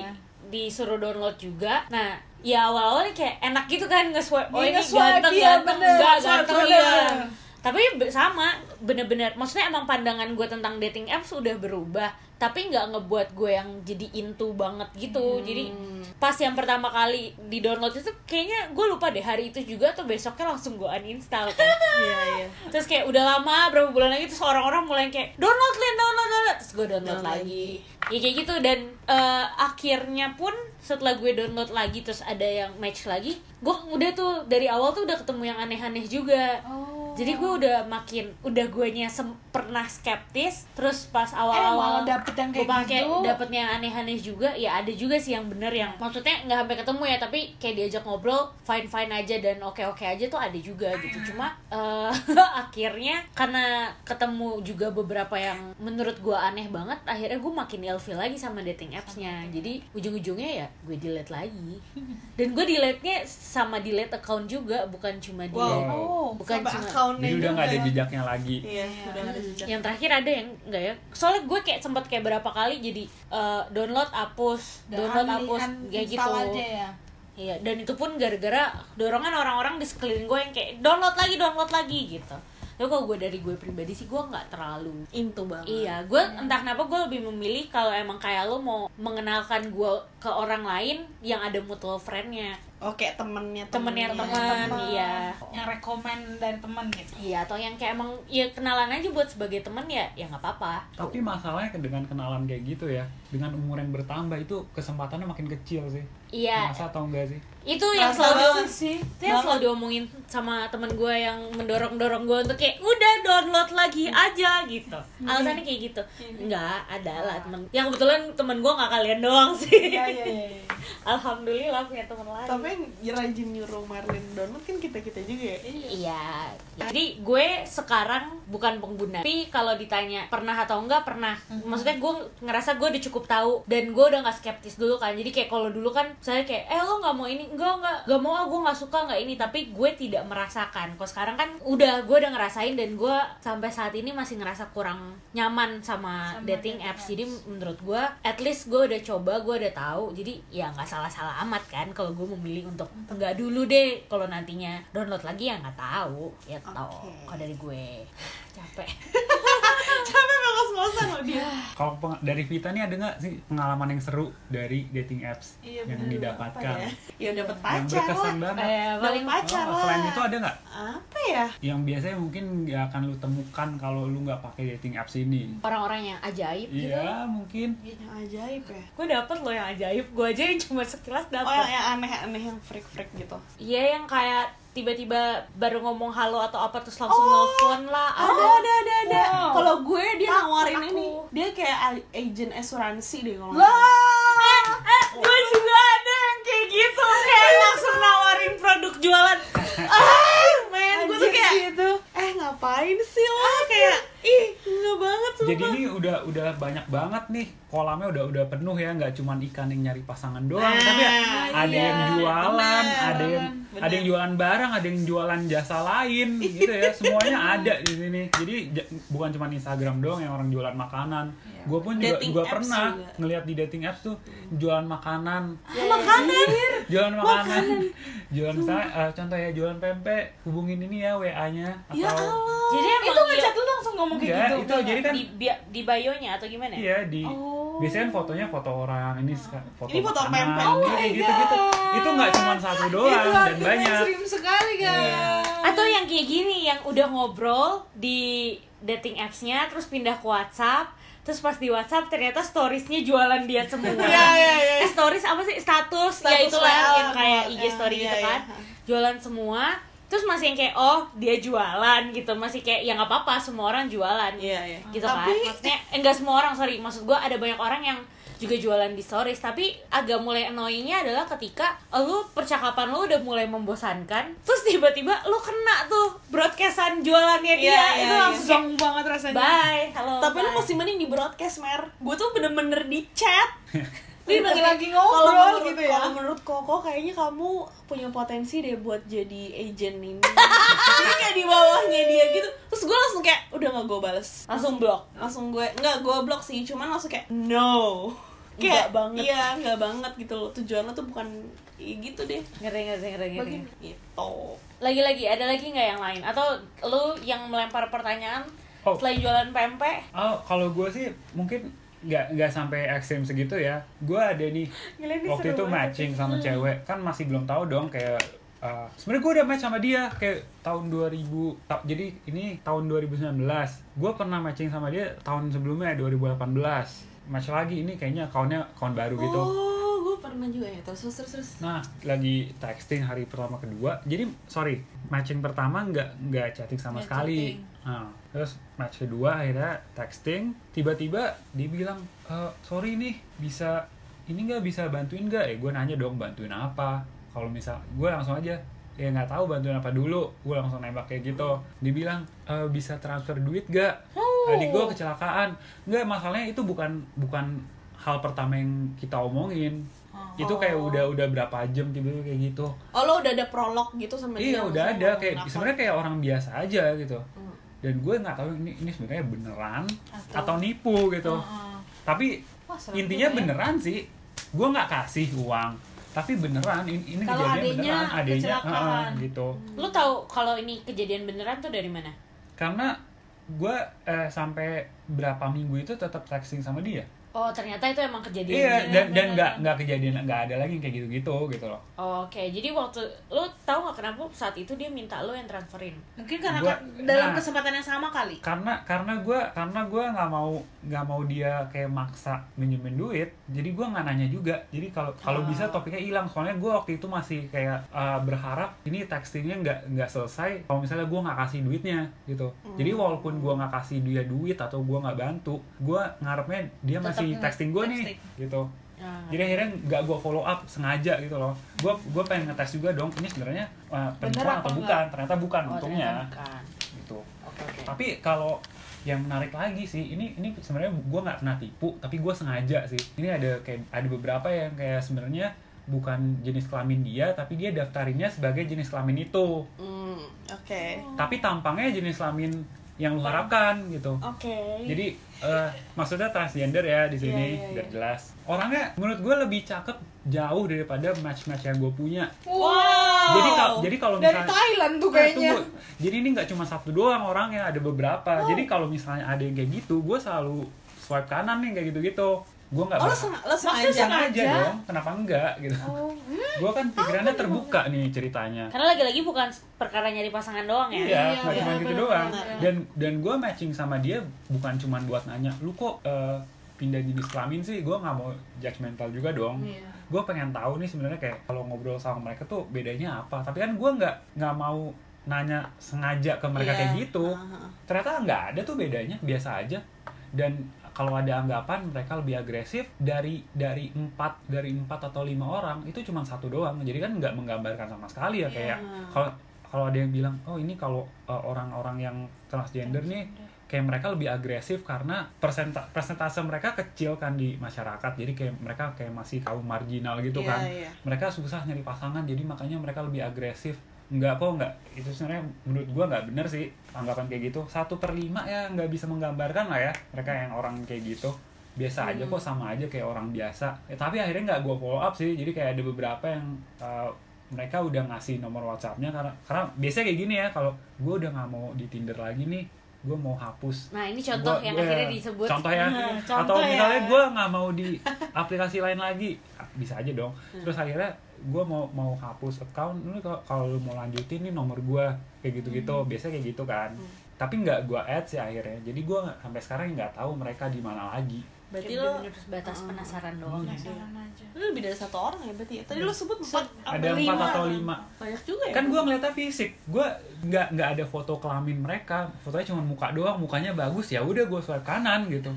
Speaker 3: disuruh download juga. Nah, ya awal-awalnya kayak enak gitu kan nge-swipe. Oh
Speaker 4: Iya,
Speaker 3: ini
Speaker 4: nge-swipe,
Speaker 3: ganteng,
Speaker 4: iya,
Speaker 3: ganteng,
Speaker 4: bener.
Speaker 3: enggak,
Speaker 4: Swipe,
Speaker 3: ganteng,
Speaker 4: swipe,
Speaker 3: iya.
Speaker 4: bener.
Speaker 3: Tapi be- sama, bener-bener. Maksudnya emang pandangan gue tentang dating apps udah berubah. Tapi nggak ngebuat gue yang jadi into banget gitu.
Speaker 4: Hmm.
Speaker 3: Jadi pas yang pertama kali di download itu kayaknya gue lupa deh hari itu juga atau besoknya langsung gue uninstall kan.
Speaker 1: iya iya
Speaker 3: terus kayak udah lama berapa bulan lagi terus orang-orang mulai kayak download Lin download download terus gue download
Speaker 1: Download
Speaker 3: lagi ya kayak gitu dan eh, akhirnya pun setelah gue download lagi terus ada yang match lagi gue udah tuh dari awal tuh udah ketemu yang aneh-aneh juga
Speaker 4: Oh.
Speaker 3: Jadi gue udah makin udah guanya sem- pernah skeptis, terus pas
Speaker 4: eh malah
Speaker 3: awal-awal
Speaker 4: dapet yang
Speaker 3: gue
Speaker 4: kayak
Speaker 3: pakai
Speaker 4: gitu
Speaker 2: Iya.
Speaker 3: dapetnya yang aneh-aneh juga ya ada juga sih yang bener yang maksudnya nggak sampai ketemu ya tapi kayak diajak ngobrol fine fine aja dan oke oke aja tuh ada juga gitu cuma eh, <laughs> akhirnya karena ketemu juga beberapa yang menurut gua aneh banget akhirnya gue makin ilfil lagi sama dating appsnya jadi ujung-ujungnya ya gue delete lagi dan gue delete nya sama delete account juga bukan cuma delete
Speaker 1: Wow.
Speaker 4: Oh.
Speaker 2: Wow.
Speaker 3: Bukan
Speaker 1: Sampai
Speaker 3: cuma-
Speaker 1: accountnya
Speaker 2: Jadi udah nggak ada
Speaker 4: ya?
Speaker 1: juga. ya.
Speaker 2: jejaknya lagi.
Speaker 1: Iya, udah nggak ada jejak.
Speaker 3: yang terakhir ada yang enggak ya soalnya gue kayak sempat kayak berapa kali jadi eh, download hapus
Speaker 4: Dan
Speaker 3: download
Speaker 4: un-
Speaker 3: hapus
Speaker 4: un-
Speaker 3: kayak gitu
Speaker 4: kan install aja ya.
Speaker 3: iya dan itu pun gara-gara dorongan orang-orang di sekeliling gue yang kayak download lagi download lagi gitu tapi kalau gue dari gue pribadi sih gue nggak terlalu
Speaker 1: Into banget.
Speaker 3: Iya, gue entah kenapa gue lebih memilih kalau emang kayak lo mau mengenalkan gue ke orang lain yang ada mutual friendnya,
Speaker 1: Oh, kayak temennya
Speaker 3: temennya
Speaker 4: teman.
Speaker 3: <laughs> teman, iya.
Speaker 4: yang rekomend dari teman gitu
Speaker 3: Iya, atau yang kayak emang ya kenalan aja buat sebagai teman ya, ya nggak apa-apa.
Speaker 2: Tapi masalahnya dengan kenalan kayak gitu ya, dengan umur yang bertambah itu kesempatannya makin kecil sih.
Speaker 3: Iya,
Speaker 2: Masa atau enggak sih?
Speaker 3: itu yang
Speaker 1: Kerasa
Speaker 3: selalu
Speaker 1: banget sih.
Speaker 3: itu yang selalu diomongin sama temen gue yang mendorong dorong gue untuk kayak udah download lagi
Speaker 1: Hmm.
Speaker 3: aja gitu alasannya kayak gitu nggak ada lah temen yang kebetulan temen gue nggak kalian doang sih
Speaker 4: iya iya iya iya.
Speaker 3: <laughs> alhamdulillah punya temen lagi
Speaker 1: Tapi yang rajin nyuruh Marlin download kan kita-kita juga ya.
Speaker 3: Iya. Jadi gue sekarang bukan pengguna. Tapi kalau ditanya pernah atau enggak pernah, maksudnya gue ngerasa gue udah cukup tahu dan gue udah nggak skeptis dulu kan. Jadi kayak kalau dulu kan saya kayak eh lo nggak mau ini, enggak enggak, enggak mau ah gue nggak suka nggak ini. Tapi gue tidak merasakan. Kalau sekarang kan udah gue udah ngerasain dan gue sampai saat ini masih ngerasa kurang nyaman sama,
Speaker 4: Sama dating
Speaker 3: dating apps. Jadi menurut gue, at least gue udah coba, gue udah tahu. Jadi ya nggak salah-salah amat kan kalau gue memilih untuk nggak dulu deh. Kalau nantinya download lagi ya nggak tahu. Ya tau.
Speaker 1: Oke.
Speaker 3: Kalau dari gue
Speaker 1: <laughs>
Speaker 3: capek.
Speaker 1: Capek banget ngos-ngosan loh dia.
Speaker 2: Kalau peng- dari Vita nih ada nggak sih pengalaman yang seru dari dating apps
Speaker 4: Iya,
Speaker 2: yang
Speaker 4: bener.
Speaker 1: Apa
Speaker 2: didapatkan?
Speaker 1: ya? Ya dapat
Speaker 2: Yang
Speaker 1: pacar lah.
Speaker 2: berkesan banget.
Speaker 3: Eh,
Speaker 1: Dapat
Speaker 3: paling
Speaker 1: pacar
Speaker 2: Oh,
Speaker 1: lah.
Speaker 2: selain itu ada nggak
Speaker 1: apa ya?
Speaker 2: yang biasanya mungkin nggak akan lu temukan kalau lu nggak pakai dating apps ini?
Speaker 3: orang-orang yang ajaib gitu.
Speaker 2: Iya, mungkin.
Speaker 1: Yang ajaib ya.
Speaker 3: Gue dapet loh yang ajaib. Gue aja yang cuma sekilas dapet.
Speaker 1: Oh, yang, yang aneh-aneh yang freak-freak gitu.
Speaker 3: Iya yang kayak tiba-tiba baru ngomong halo atau apa terus langsung nelfon lah.
Speaker 1: Oh, Ada,
Speaker 3: Oh, Ada.
Speaker 1: ada, ada, ada.
Speaker 4: Wow.
Speaker 1: Kalau gue dia
Speaker 3: Takut
Speaker 1: nawarin
Speaker 3: aku.
Speaker 1: ini, dia kayak a- agent asuransi deh kalau.
Speaker 3: Ah!
Speaker 1: nggak salah.
Speaker 3: Lah, eh, gue juga ada yang kayak gitu kayak langsung nawarin produk jualan.
Speaker 1: Ah, men, gue tuh
Speaker 4: Anjir
Speaker 1: kayak
Speaker 4: sih itu. Ah,
Speaker 1: eh ngapain sih lo kayak ih, enggak banget sumpah.
Speaker 2: Jadi ini udah udah banyak banget nih kolamnya udah udah penuh ya nggak cuman ikan yang nyari pasangan doang
Speaker 1: Nah,
Speaker 2: tapi ya ada
Speaker 1: iya,
Speaker 2: yang jualan
Speaker 1: bener,
Speaker 2: ada yang
Speaker 1: bener.
Speaker 2: ada yang jualan barang ada yang jualan jasa lain gitu
Speaker 1: <laughs>
Speaker 2: ya semuanya ada di sini jadi j- bukan cuman Instagram doang yang orang jualan makanan gue pun juga
Speaker 1: Iya. Dating
Speaker 2: juga
Speaker 1: apps
Speaker 2: pernah
Speaker 1: juga. Hmm.
Speaker 2: ngelihat di dating apps tuh jualan makanan
Speaker 3: iya,
Speaker 1: makanan
Speaker 2: jualan makanan <laughs> jualan misalnya eh, contoh ya jualan pempek hubungin ini ya wa nya atau
Speaker 1: ya Allah
Speaker 3: Jadi emang
Speaker 4: itu
Speaker 3: dia-
Speaker 4: ngechat lu langsung ngomong kayak
Speaker 2: Enggak,
Speaker 4: gitu
Speaker 2: itu jadi kan
Speaker 3: di bi- di bio-nya atau gimana? ya?
Speaker 2: Iya di
Speaker 4: Oh.
Speaker 2: biasanya fotonya foto orang ini ska- foto
Speaker 1: Ini foto
Speaker 2: makanan,
Speaker 1: pempek.
Speaker 2: ini
Speaker 1: Oh
Speaker 2: kayak
Speaker 1: my
Speaker 2: gitu-gitu. Itu nggak cuma satu doang
Speaker 4: itu
Speaker 2: dan
Speaker 4: artinya
Speaker 2: banyak. Iya.
Speaker 4: mainstream Iya, sekali guys
Speaker 3: Atau yang kayak gini yang udah ngobrol di dating apps-nya terus pindah ke WhatsApp terus pas di WhatsApp ternyata storiesnya jualan dia semua.
Speaker 1: <laughs> Iya, iya, iya.
Speaker 3: Eh, stories apa sih status? ya
Speaker 1: Status
Speaker 3: itulah
Speaker 1: WA,
Speaker 3: yang kayak
Speaker 1: iya,
Speaker 3: IG story
Speaker 1: iya,
Speaker 3: gitu
Speaker 1: iya.
Speaker 3: kan. Jualan semua. Terus masih yang kayak oh dia jualan gitu masih kayak ya nggak apa-apa semua orang jualan
Speaker 1: Iya, iya.
Speaker 3: gitu
Speaker 1: Tapi-
Speaker 3: kan maksudnya eh, enggak semua orang sorry maksud gua ada banyak orang yang juga jualan di stories tapi agak mulai annoyingnya adalah ketika lu percakapan lu udah mulai membosankan terus tiba-tiba lu kena tuh broadcastan jualannya dia
Speaker 1: Iya, iya,
Speaker 3: itu
Speaker 1: iya.
Speaker 3: langsung
Speaker 4: zonk banget rasanya
Speaker 3: bye halo
Speaker 1: Tapi lu
Speaker 3: bye."
Speaker 1: masih mending di broadcast, Mer. Gue tuh bener-bener di chat.
Speaker 4: Ini
Speaker 1: Bener-bener
Speaker 4: lagi
Speaker 1: kayak,
Speaker 4: ngobrol
Speaker 1: kalau menurut-
Speaker 4: gitu ya.
Speaker 1: Kalau menurut Koko kayaknya kamu punya potensi deh buat jadi agent ini.
Speaker 4: <laughs>
Speaker 1: jadi kayak di bawahnya dia gitu. Terus gue langsung kayak udah nggak gue bales.
Speaker 3: langsung blok
Speaker 1: Langsung gue nggak gue blok sih, cuman langsung kayak no.
Speaker 3: Nggak
Speaker 1: Kayak
Speaker 3: banget.
Speaker 1: Iya, nggak banget gitu loh. Tujuan lo tuh bukan ya gitu deh.
Speaker 3: ngerti ngerti ngerti
Speaker 4: Hmm.
Speaker 3: ngerti
Speaker 1: Bagi gitu.
Speaker 3: lagi-lagi ada lagi nggak yang lain atau lu yang melempar pertanyaan
Speaker 2: Oh.
Speaker 3: selain jualan pempek
Speaker 2: Oh, kalau gue sih mungkin nggak nggak sampai ekstrim segitu ya. Gue ada nih
Speaker 3: Gila, ini
Speaker 2: waktu itu
Speaker 3: seru banget. Hmm.
Speaker 2: matching sama cewek kan masih belum tahu dong kayak uh, sebenarnya gue udah match sama dia kayak tahun 2000 ta- jadi ini tahun 2019 gue pernah matching sama dia tahun sebelumnya 2018 match lagi ini kayaknya accountnya account baru gitu
Speaker 1: Oh, gue pernah juga ya terus terus terus, terus.
Speaker 2: Nah, lagi texting hari pertama kedua. Jadi, sorry, matching pertama nggak nggak chatting sama
Speaker 4: Nggak
Speaker 2: sekali. Nah, terus match kedua akhirnya texting. Tiba-tiba dibilang, "Eh, sorry nih, bisa ini nggak bisa bantuin nggak? Ya gue nanya dong bantuin apa. Kalau misal gue langsung aja ya nggak tahu bantuin apa dulu gue langsung nembak kayak gitu dibilang "Eh, bisa transfer duit gak adik gue kecelakaan nggak masalahnya itu bukan bukan hal pertama yang kita omongin itu kayak
Speaker 4: Oh.
Speaker 2: udah udah berapa jam tiba-tiba kayak gitu
Speaker 1: oh lo udah ada prolog gitu sama dia
Speaker 2: iya udah
Speaker 1: maksudnya
Speaker 2: ada
Speaker 1: ngomong
Speaker 2: kayak
Speaker 1: apa.
Speaker 2: sebenarnya kayak orang biasa aja gitu
Speaker 1: Hmm.
Speaker 2: dan gue nggak tahu ini ini sebenarnya beneran
Speaker 4: Atau- Ah,
Speaker 2: atau nipu gitu tapi
Speaker 4: Wah, serem
Speaker 2: intinya
Speaker 4: juga ya.
Speaker 2: beneran sih gue nggak kasih uang tapi beneran ini, ini
Speaker 4: Kalau
Speaker 2: kejadian
Speaker 4: adeknya
Speaker 2: beneran adanya
Speaker 4: kecelakaan. Hmm.
Speaker 2: gitu
Speaker 3: Lu tahu kalau ini kejadian beneran tuh dari mana?
Speaker 2: karena gue eh, sampai berapa minggu itu tetap texting sama dia
Speaker 3: Oh, ternyata itu emang kejadian.
Speaker 2: iya
Speaker 3: beneran.
Speaker 2: dan dan nggak nggak kejadian nggak ada lagi yang kayak gitu-gitu gitu loh
Speaker 3: Oh, Oke, jadi waktu lu tahu nggak kenapa saat itu dia minta lu yang transferin?
Speaker 4: mungkin karena
Speaker 2: Gua-
Speaker 4: kan dalam
Speaker 2: nah.
Speaker 4: kesempatan yang sama kali
Speaker 2: karena karena gue karena gua nggak mau nggak mau dia kayak maksa minjemin duit jadi gue nggak nanya juga jadi kalau kalau
Speaker 3: Ah.
Speaker 2: bisa topiknya hilang soalnya gue waktu itu masih kayak uh, berharap ini textingnya nggak nggak selesai kalau misalnya gue nggak kasih duitnya gitu jadi walaupun gue nggak kasih dia duit atau gue nggak bantu gue ngarepnya dia
Speaker 4: Tetap
Speaker 2: masih
Speaker 4: nge-
Speaker 2: texting gue nih gitu
Speaker 3: Ah.
Speaker 2: jadi akhirnya nggak gue follow up sengaja gitu loh gue gue pengen ngetes juga dong ini sebenarnya uh,
Speaker 4: apa
Speaker 2: penipuan atau
Speaker 4: nggak?
Speaker 2: bukan ternyata bukan
Speaker 3: Oh,
Speaker 2: untungnya
Speaker 3: ternyata bukan.
Speaker 2: gitu
Speaker 3: Oke, oke.
Speaker 2: tapi kalau yang menarik lagi sih ini ini sebenarnya gue nggak pernah tipu tapi gue sengaja sih ini ada kayak ada beberapa yang kayak sebenarnya bukan jenis kelamin dia tapi dia daftarinnya sebagai jenis kelamin itu
Speaker 1: Hmm, oke
Speaker 2: tapi tampangnya jenis kelamin yang lu harapkan gitu
Speaker 1: oke
Speaker 2: jadi eh, maksudnya transgender ya di sini
Speaker 1: Iya, iya, iya.
Speaker 2: biar jelas orangnya menurut gue lebih cakep jauh daripada match-match yang gue punya
Speaker 1: wow
Speaker 2: jadi kalau jadi kalau
Speaker 4: dari
Speaker 2: misalnya
Speaker 4: Thailand tuh
Speaker 2: Nah,
Speaker 4: kayaknya
Speaker 2: tunggu. Jadi ini nggak cuma satu doang orangnya, ada
Speaker 1: Oh.
Speaker 2: beberapa. Jadi kalau misalnya ada yang kayak gitu, gue selalu swipe kanan nih kayak gitu-gitu. Gue nggak
Speaker 1: oh, lo,
Speaker 2: bakal-
Speaker 1: seng- lo
Speaker 4: Maksudnya
Speaker 1: sengaja kan? Oh.
Speaker 2: aja dong, kenapa enggak gitu. Gue kan pikirannya terbuka nih ceritanya.
Speaker 3: Karena lagi-lagi bukan perkara nyari pasangan doang ya.
Speaker 2: Iya,
Speaker 4: Iya,
Speaker 2: nggak cuma
Speaker 4: benar,
Speaker 2: gitu
Speaker 4: benar,
Speaker 2: doang.
Speaker 4: benar.
Speaker 2: Dan dan gue matching sama dia bukan cuma buat nanya, lu kok eh, pindah jenis kelamin sih? Gue nggak mau judgmental juga dong.
Speaker 4: Iya.
Speaker 2: Gue pengen tahu nih sebenarnya kayak kalau ngobrol sama mereka tuh bedanya apa. Tapi kan gue nggak nggak mau nanya sengaja ke mereka
Speaker 1: Iya.
Speaker 2: kayak gitu.
Speaker 1: Aha.
Speaker 2: Ternyata nggak ada tuh bedanya, biasa aja. Dan kalau ada anggapan mereka lebih agresif dari dari empat dari empat atau lima orang itu cuma satu doang jadi kan nggak menggambarkan sama sekali ya kayak
Speaker 4: Iya.
Speaker 2: kalau kalau ada yang bilang oh ini kalau uh, orang-orang yang transgender nih kayak mereka lebih agresif karena persenta persentase mereka kecil kan di masyarakat jadi kayak mereka kayak masih kaum marginal gitu
Speaker 1: Iya,
Speaker 2: kan
Speaker 1: iya.
Speaker 2: mereka susah nyari pasangan jadi makanya mereka lebih agresif nggak kok nggak itu sebenarnya menurut gua nggak bener sih anggapan kayak gitu satu per lima ya nggak bisa menggambarkan lah ya mereka yang orang kayak gitu biasa aja kok sama aja kayak orang biasa Eh, tapi akhirnya nggak gua follow up sih jadi kayak ada beberapa yang uh, mereka udah ngasih nomor WhatsAppnya karena karena biasanya kayak gini ya kalau gua udah nggak mau di Tinder lagi nih gua mau hapus
Speaker 3: Nah, ini
Speaker 2: Gua-
Speaker 3: contoh yang
Speaker 2: gua-
Speaker 3: akhirnya disebut.
Speaker 2: contoh ya
Speaker 3: Nah,
Speaker 2: atau
Speaker 3: contoh ya.
Speaker 2: misalnya gue nggak mau di aplikasi lain lagi bisa aja dong
Speaker 3: Hmm.
Speaker 2: terus akhirnya gue mau mau hapus account lu kalau kalau lu mau lanjutin nih nomor gue kayak gitu gitu
Speaker 3: Hmm.
Speaker 2: biasanya kayak gitu kan tapi nggak gue add sih akhirnya jadi gue sampai sekarang nggak tahu mereka di mana lagi Hmm.
Speaker 1: berarti
Speaker 3: Kayak
Speaker 1: lo
Speaker 3: bener-bener sebatas
Speaker 1: Uh-uh.
Speaker 3: penasaran doang. ya.
Speaker 4: Penasaran Nah, aja.
Speaker 1: lo lebih dari satu orang ya berarti ya tadi lo sebut empat
Speaker 2: ada
Speaker 1: sampai
Speaker 2: empat
Speaker 1: lima.
Speaker 2: atau lima
Speaker 1: banyak juga ya
Speaker 2: kan gue ngeliatnya fisik gue nggak nggak ada foto kelamin mereka fotonya cuma muka doang mukanya bagus ya udah gue swipe kanan gitu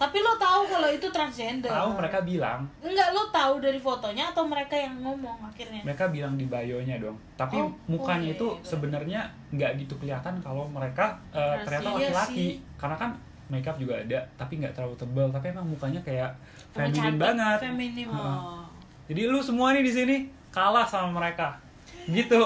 Speaker 4: tapi lo tahu kalau itu transgender
Speaker 2: tahu mereka bilang
Speaker 4: enggak lo tahu dari fotonya atau mereka yang ngomong akhirnya
Speaker 2: mereka bilang di bayonya dong tapi
Speaker 4: Oh, oh
Speaker 2: mukanya
Speaker 4: iya,
Speaker 2: itu
Speaker 4: iya.
Speaker 2: sebenarnya nggak gitu kelihatan kalau mereka
Speaker 4: Trans-
Speaker 2: eh, ternyata
Speaker 4: iya
Speaker 2: laki-laki
Speaker 4: sih.
Speaker 2: karena kan makeup juga ada tapi nggak terlalu tebal tapi emang mukanya kayak
Speaker 4: Oh,
Speaker 3: Emang
Speaker 2: feminin
Speaker 3: cantik,
Speaker 2: banget
Speaker 4: feminim
Speaker 1: oh.
Speaker 2: jadi lu semua nih di sini kalah sama mereka gitu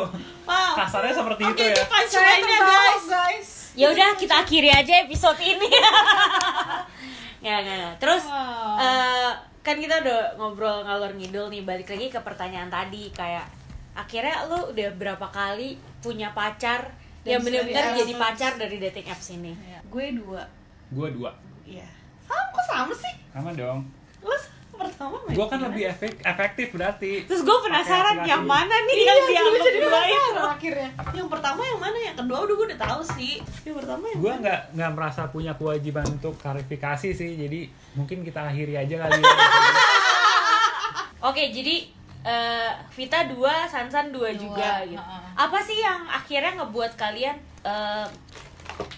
Speaker 1: wow
Speaker 2: kasarnya seperti
Speaker 1: oke
Speaker 2: itu ya
Speaker 4: kan-
Speaker 1: itu punchline-nya guys
Speaker 4: guys
Speaker 3: Ya udah kita akhiri aja episode ini. <laughs> ya, ya, ya. Terus
Speaker 4: Wow.
Speaker 3: eh, kan kita udah ngobrol ngalor ngidul nih balik lagi ke pertanyaan tadi kayak akhirnya lu udah berapa kali punya pacar yang
Speaker 1: Dan
Speaker 3: benar-benar
Speaker 1: dari
Speaker 3: jadi pacar dari dating apps ini?
Speaker 1: gue dua
Speaker 2: gue dua
Speaker 1: iya sama kok sama sih
Speaker 2: sama dong
Speaker 1: lo pertama
Speaker 4: Oh,
Speaker 1: main
Speaker 2: gue kan
Speaker 1: gimana?
Speaker 2: lebih efek- efektif berarti
Speaker 3: Terus gue penasaran
Speaker 2: Pakai aplikasi.
Speaker 3: yang mana nih yang
Speaker 1: Iya,
Speaker 3: dianggap
Speaker 1: gue jadi
Speaker 3: dua itu.
Speaker 1: penasaran akhirnya yang pertama yang mana yang kedua udah gue udah tahu sih yang pertama yang
Speaker 2: gue nggak nggak merasa punya kewajiban
Speaker 4: <laughs>
Speaker 2: untuk klarifikasi sih jadi mungkin kita akhiri aja kali ya.
Speaker 3: Oke, jadi eh, Vita dua, Sansan
Speaker 4: Dua,
Speaker 3: dua juga gitu.
Speaker 4: ha-ha.
Speaker 3: Apa sih yang akhirnya ngebuat kalian eh,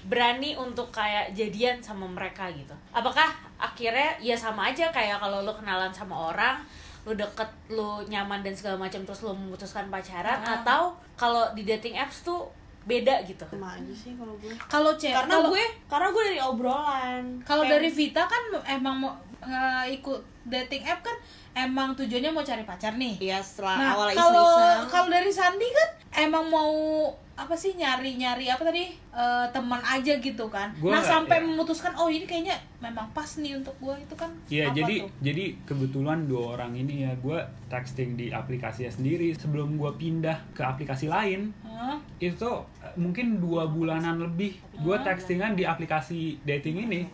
Speaker 3: berani untuk kayak jadian sama mereka gitu? Apakah akhirnya ya sama aja kayak kalau lu kenalan sama orang, lu deket, lu nyaman dan segala macam terus lu memutuskan pacaran
Speaker 4: Ah.
Speaker 3: atau kalau di dating apps tuh beda gitu?
Speaker 1: sama aja sih kalau gue
Speaker 4: Kalau cewek,
Speaker 1: karena
Speaker 4: kalau-
Speaker 1: gue karena gue dari obrolan
Speaker 4: Kalau
Speaker 1: Kayak-
Speaker 4: dari Vita kan emang mau eh, ikut dating app kan emang tujuannya mau cari pacar nih.
Speaker 1: Iya setelah
Speaker 4: Nah,
Speaker 1: awal
Speaker 4: kalau
Speaker 1: iseng-iseng
Speaker 4: kalau dari Sandi kan emang mau apa sih nyari-nyari apa tadi eh, teman aja gitu kan. nah,
Speaker 2: Gua nggak-
Speaker 4: sampai
Speaker 2: iya.
Speaker 4: memutuskan oh ini kayaknya memang pas nih untuk gua itu kan.
Speaker 2: Iya
Speaker 4: apa
Speaker 2: jadi
Speaker 4: tuh?
Speaker 2: jadi kebetulan dua orang ini ya gue texting di aplikasinya sendiri sebelum gue pindah ke aplikasi lain
Speaker 4: Hah?
Speaker 2: itu eh, mungkin dua bulanan lebih
Speaker 4: Ah,
Speaker 2: gue textingan di
Speaker 4: iya.
Speaker 2: aplikasi dating ini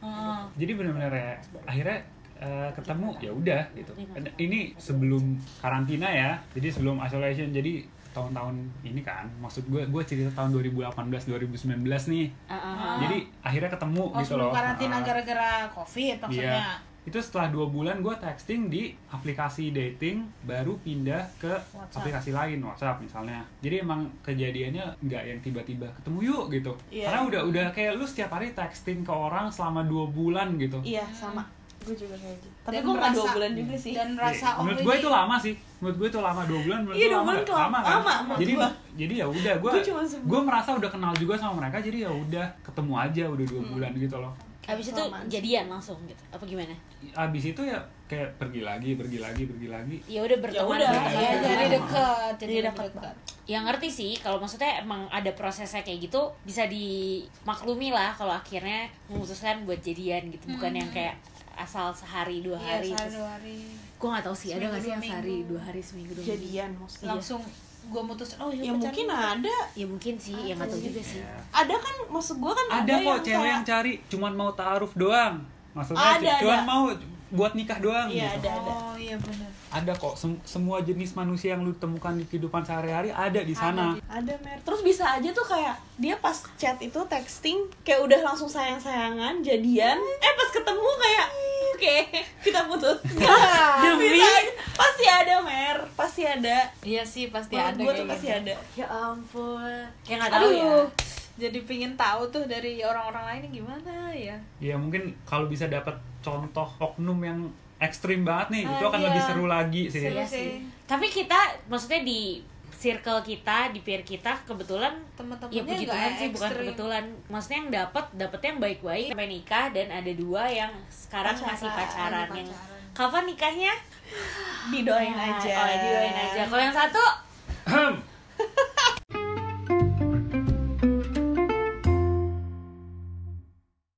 Speaker 4: Hah.
Speaker 2: jadi benar-benar ya akhirnya eh, ketemu ya udah gitu
Speaker 4: Iya,
Speaker 2: ini sebelum karantina ya jadi sebelum isolation jadi tahun-tahun ini kan maksud gue gue cerita tahun 2018 2019 nih
Speaker 1: Uh-huh. Ah.
Speaker 3: Heeh.
Speaker 2: jadi akhirnya ketemu
Speaker 4: Ah. Oh,
Speaker 2: gitu
Speaker 4: sebelum
Speaker 2: loh
Speaker 4: karantina
Speaker 2: Ah.
Speaker 4: gara-gara Covid maksudnya.
Speaker 2: Iya. Itu setelah dua bulan gue texting di aplikasi dating, baru pindah ke
Speaker 4: WhatsApp.
Speaker 2: aplikasi lain WhatsApp misalnya. Jadi emang kejadiannya nggak yang tiba-tiba ketemu yuk gitu.
Speaker 1: Iya.
Speaker 2: Karena udah udah kayak lu setiap hari texting ke orang selama dua bulan gitu.
Speaker 1: iya sama gue juga kayak gitu tapi
Speaker 4: Dan
Speaker 1: gue nggak dua
Speaker 4: merasa-
Speaker 1: bulan juga sih
Speaker 4: Dan rasa oh,
Speaker 2: Iya, menurut
Speaker 4: ini-
Speaker 2: gue itu lama sih menurut gue itu lama dua bulan menurut
Speaker 1: Iya,
Speaker 2: gua
Speaker 1: dua
Speaker 2: lama
Speaker 1: bulan
Speaker 2: nggak?
Speaker 1: kelam-
Speaker 2: kan?
Speaker 1: lama menurut
Speaker 2: jadi
Speaker 1: gua.
Speaker 2: jadi ya udah gue
Speaker 1: Gua cuma sebulan.
Speaker 2: gue merasa udah kenal juga sama mereka jadi ya udah ketemu aja udah dua
Speaker 1: Hmm.
Speaker 2: bulan gitu loh
Speaker 3: Habis itu
Speaker 1: Kelamaan sih.
Speaker 3: jadian langsung gitu. Apa gimana?
Speaker 2: abis itu ya kayak pergi lagi pergi lagi pergi lagi
Speaker 3: Ya udah berteman
Speaker 1: udah,
Speaker 3: saja.
Speaker 4: Iya, jadi dekat, jadi
Speaker 1: Jadi
Speaker 4: dekat.
Speaker 1: Iya, deket
Speaker 4: banget.
Speaker 3: ya ngerti sih kalau maksudnya emang ada prosesnya kayak gitu bisa dimaklumi lah kalau akhirnya memutuskan buat jadian gitu bukan yang kayak asal sehari dua
Speaker 4: Hmm. Iya,
Speaker 3: hari
Speaker 4: sehari dua hari.
Speaker 3: gue nggak tahu sih ada
Speaker 4: Seminggu,
Speaker 3: nggak sih
Speaker 4: dua
Speaker 3: yang sehari
Speaker 4: minggu.
Speaker 3: dua hari seminggu dua minggu
Speaker 1: jadian maksudnya
Speaker 4: Langsung gue mutusin oh yuk
Speaker 1: ya
Speaker 4: pacaran.
Speaker 1: mungkin ada
Speaker 3: ya mungkin sih ya nggak tahu juga sih
Speaker 2: Ya.
Speaker 1: ada kan maksud gue kan
Speaker 2: ada kok
Speaker 1: yang
Speaker 2: cewek
Speaker 1: kayak-
Speaker 2: yang cari cuman mau taaruf doang maksudnya
Speaker 1: Ada,
Speaker 2: cuman
Speaker 1: ada.
Speaker 2: mau buat nikah doang
Speaker 1: Iya,
Speaker 2: gitu
Speaker 1: ada.
Speaker 4: Oh iya benar.
Speaker 2: ada kok sem- semua jenis manusia yang lu temukan di kehidupan sehari-hari ada di sana
Speaker 1: ada mer terus bisa aja tuh kayak dia pas chat itu texting kayak udah langsung sayang sayangan jadian eh pas ketemu kayak oke kita <laughs> putus Iya. demi pasti ada mer pasti ada
Speaker 5: Iya sih pasti
Speaker 1: Menurut
Speaker 5: ada
Speaker 1: gua
Speaker 5: kayak
Speaker 1: tuh pasti
Speaker 5: gitu.
Speaker 1: ada
Speaker 3: ya ampun kayak nggak tahu ya
Speaker 4: Aduh, Jadi pingin tahu tuh dari orang-orang lain gimana ya.
Speaker 2: ya mungkin kalau bisa dapat contoh oknum yang ekstrim banget nih
Speaker 4: Ah,
Speaker 2: itu akan
Speaker 4: iya.
Speaker 2: lebih seru lagi sih
Speaker 4: Seru
Speaker 3: Iya
Speaker 4: sih.
Speaker 3: sih tapi kita maksudnya di circle kita di peer kita kebetulan
Speaker 4: Teman-temannya
Speaker 3: Ya puji
Speaker 4: nggak
Speaker 3: Tuhan sih bukan
Speaker 4: ekstrim.
Speaker 3: kebetulan Maksudnya yang dapat dapat yang baik-baik sampai nikah dan ada dua yang sekarang masih pacaran yang kapan nikahnya
Speaker 1: didoain aja
Speaker 3: Oh, ya, didoain Iya, aja. Kalau yang satu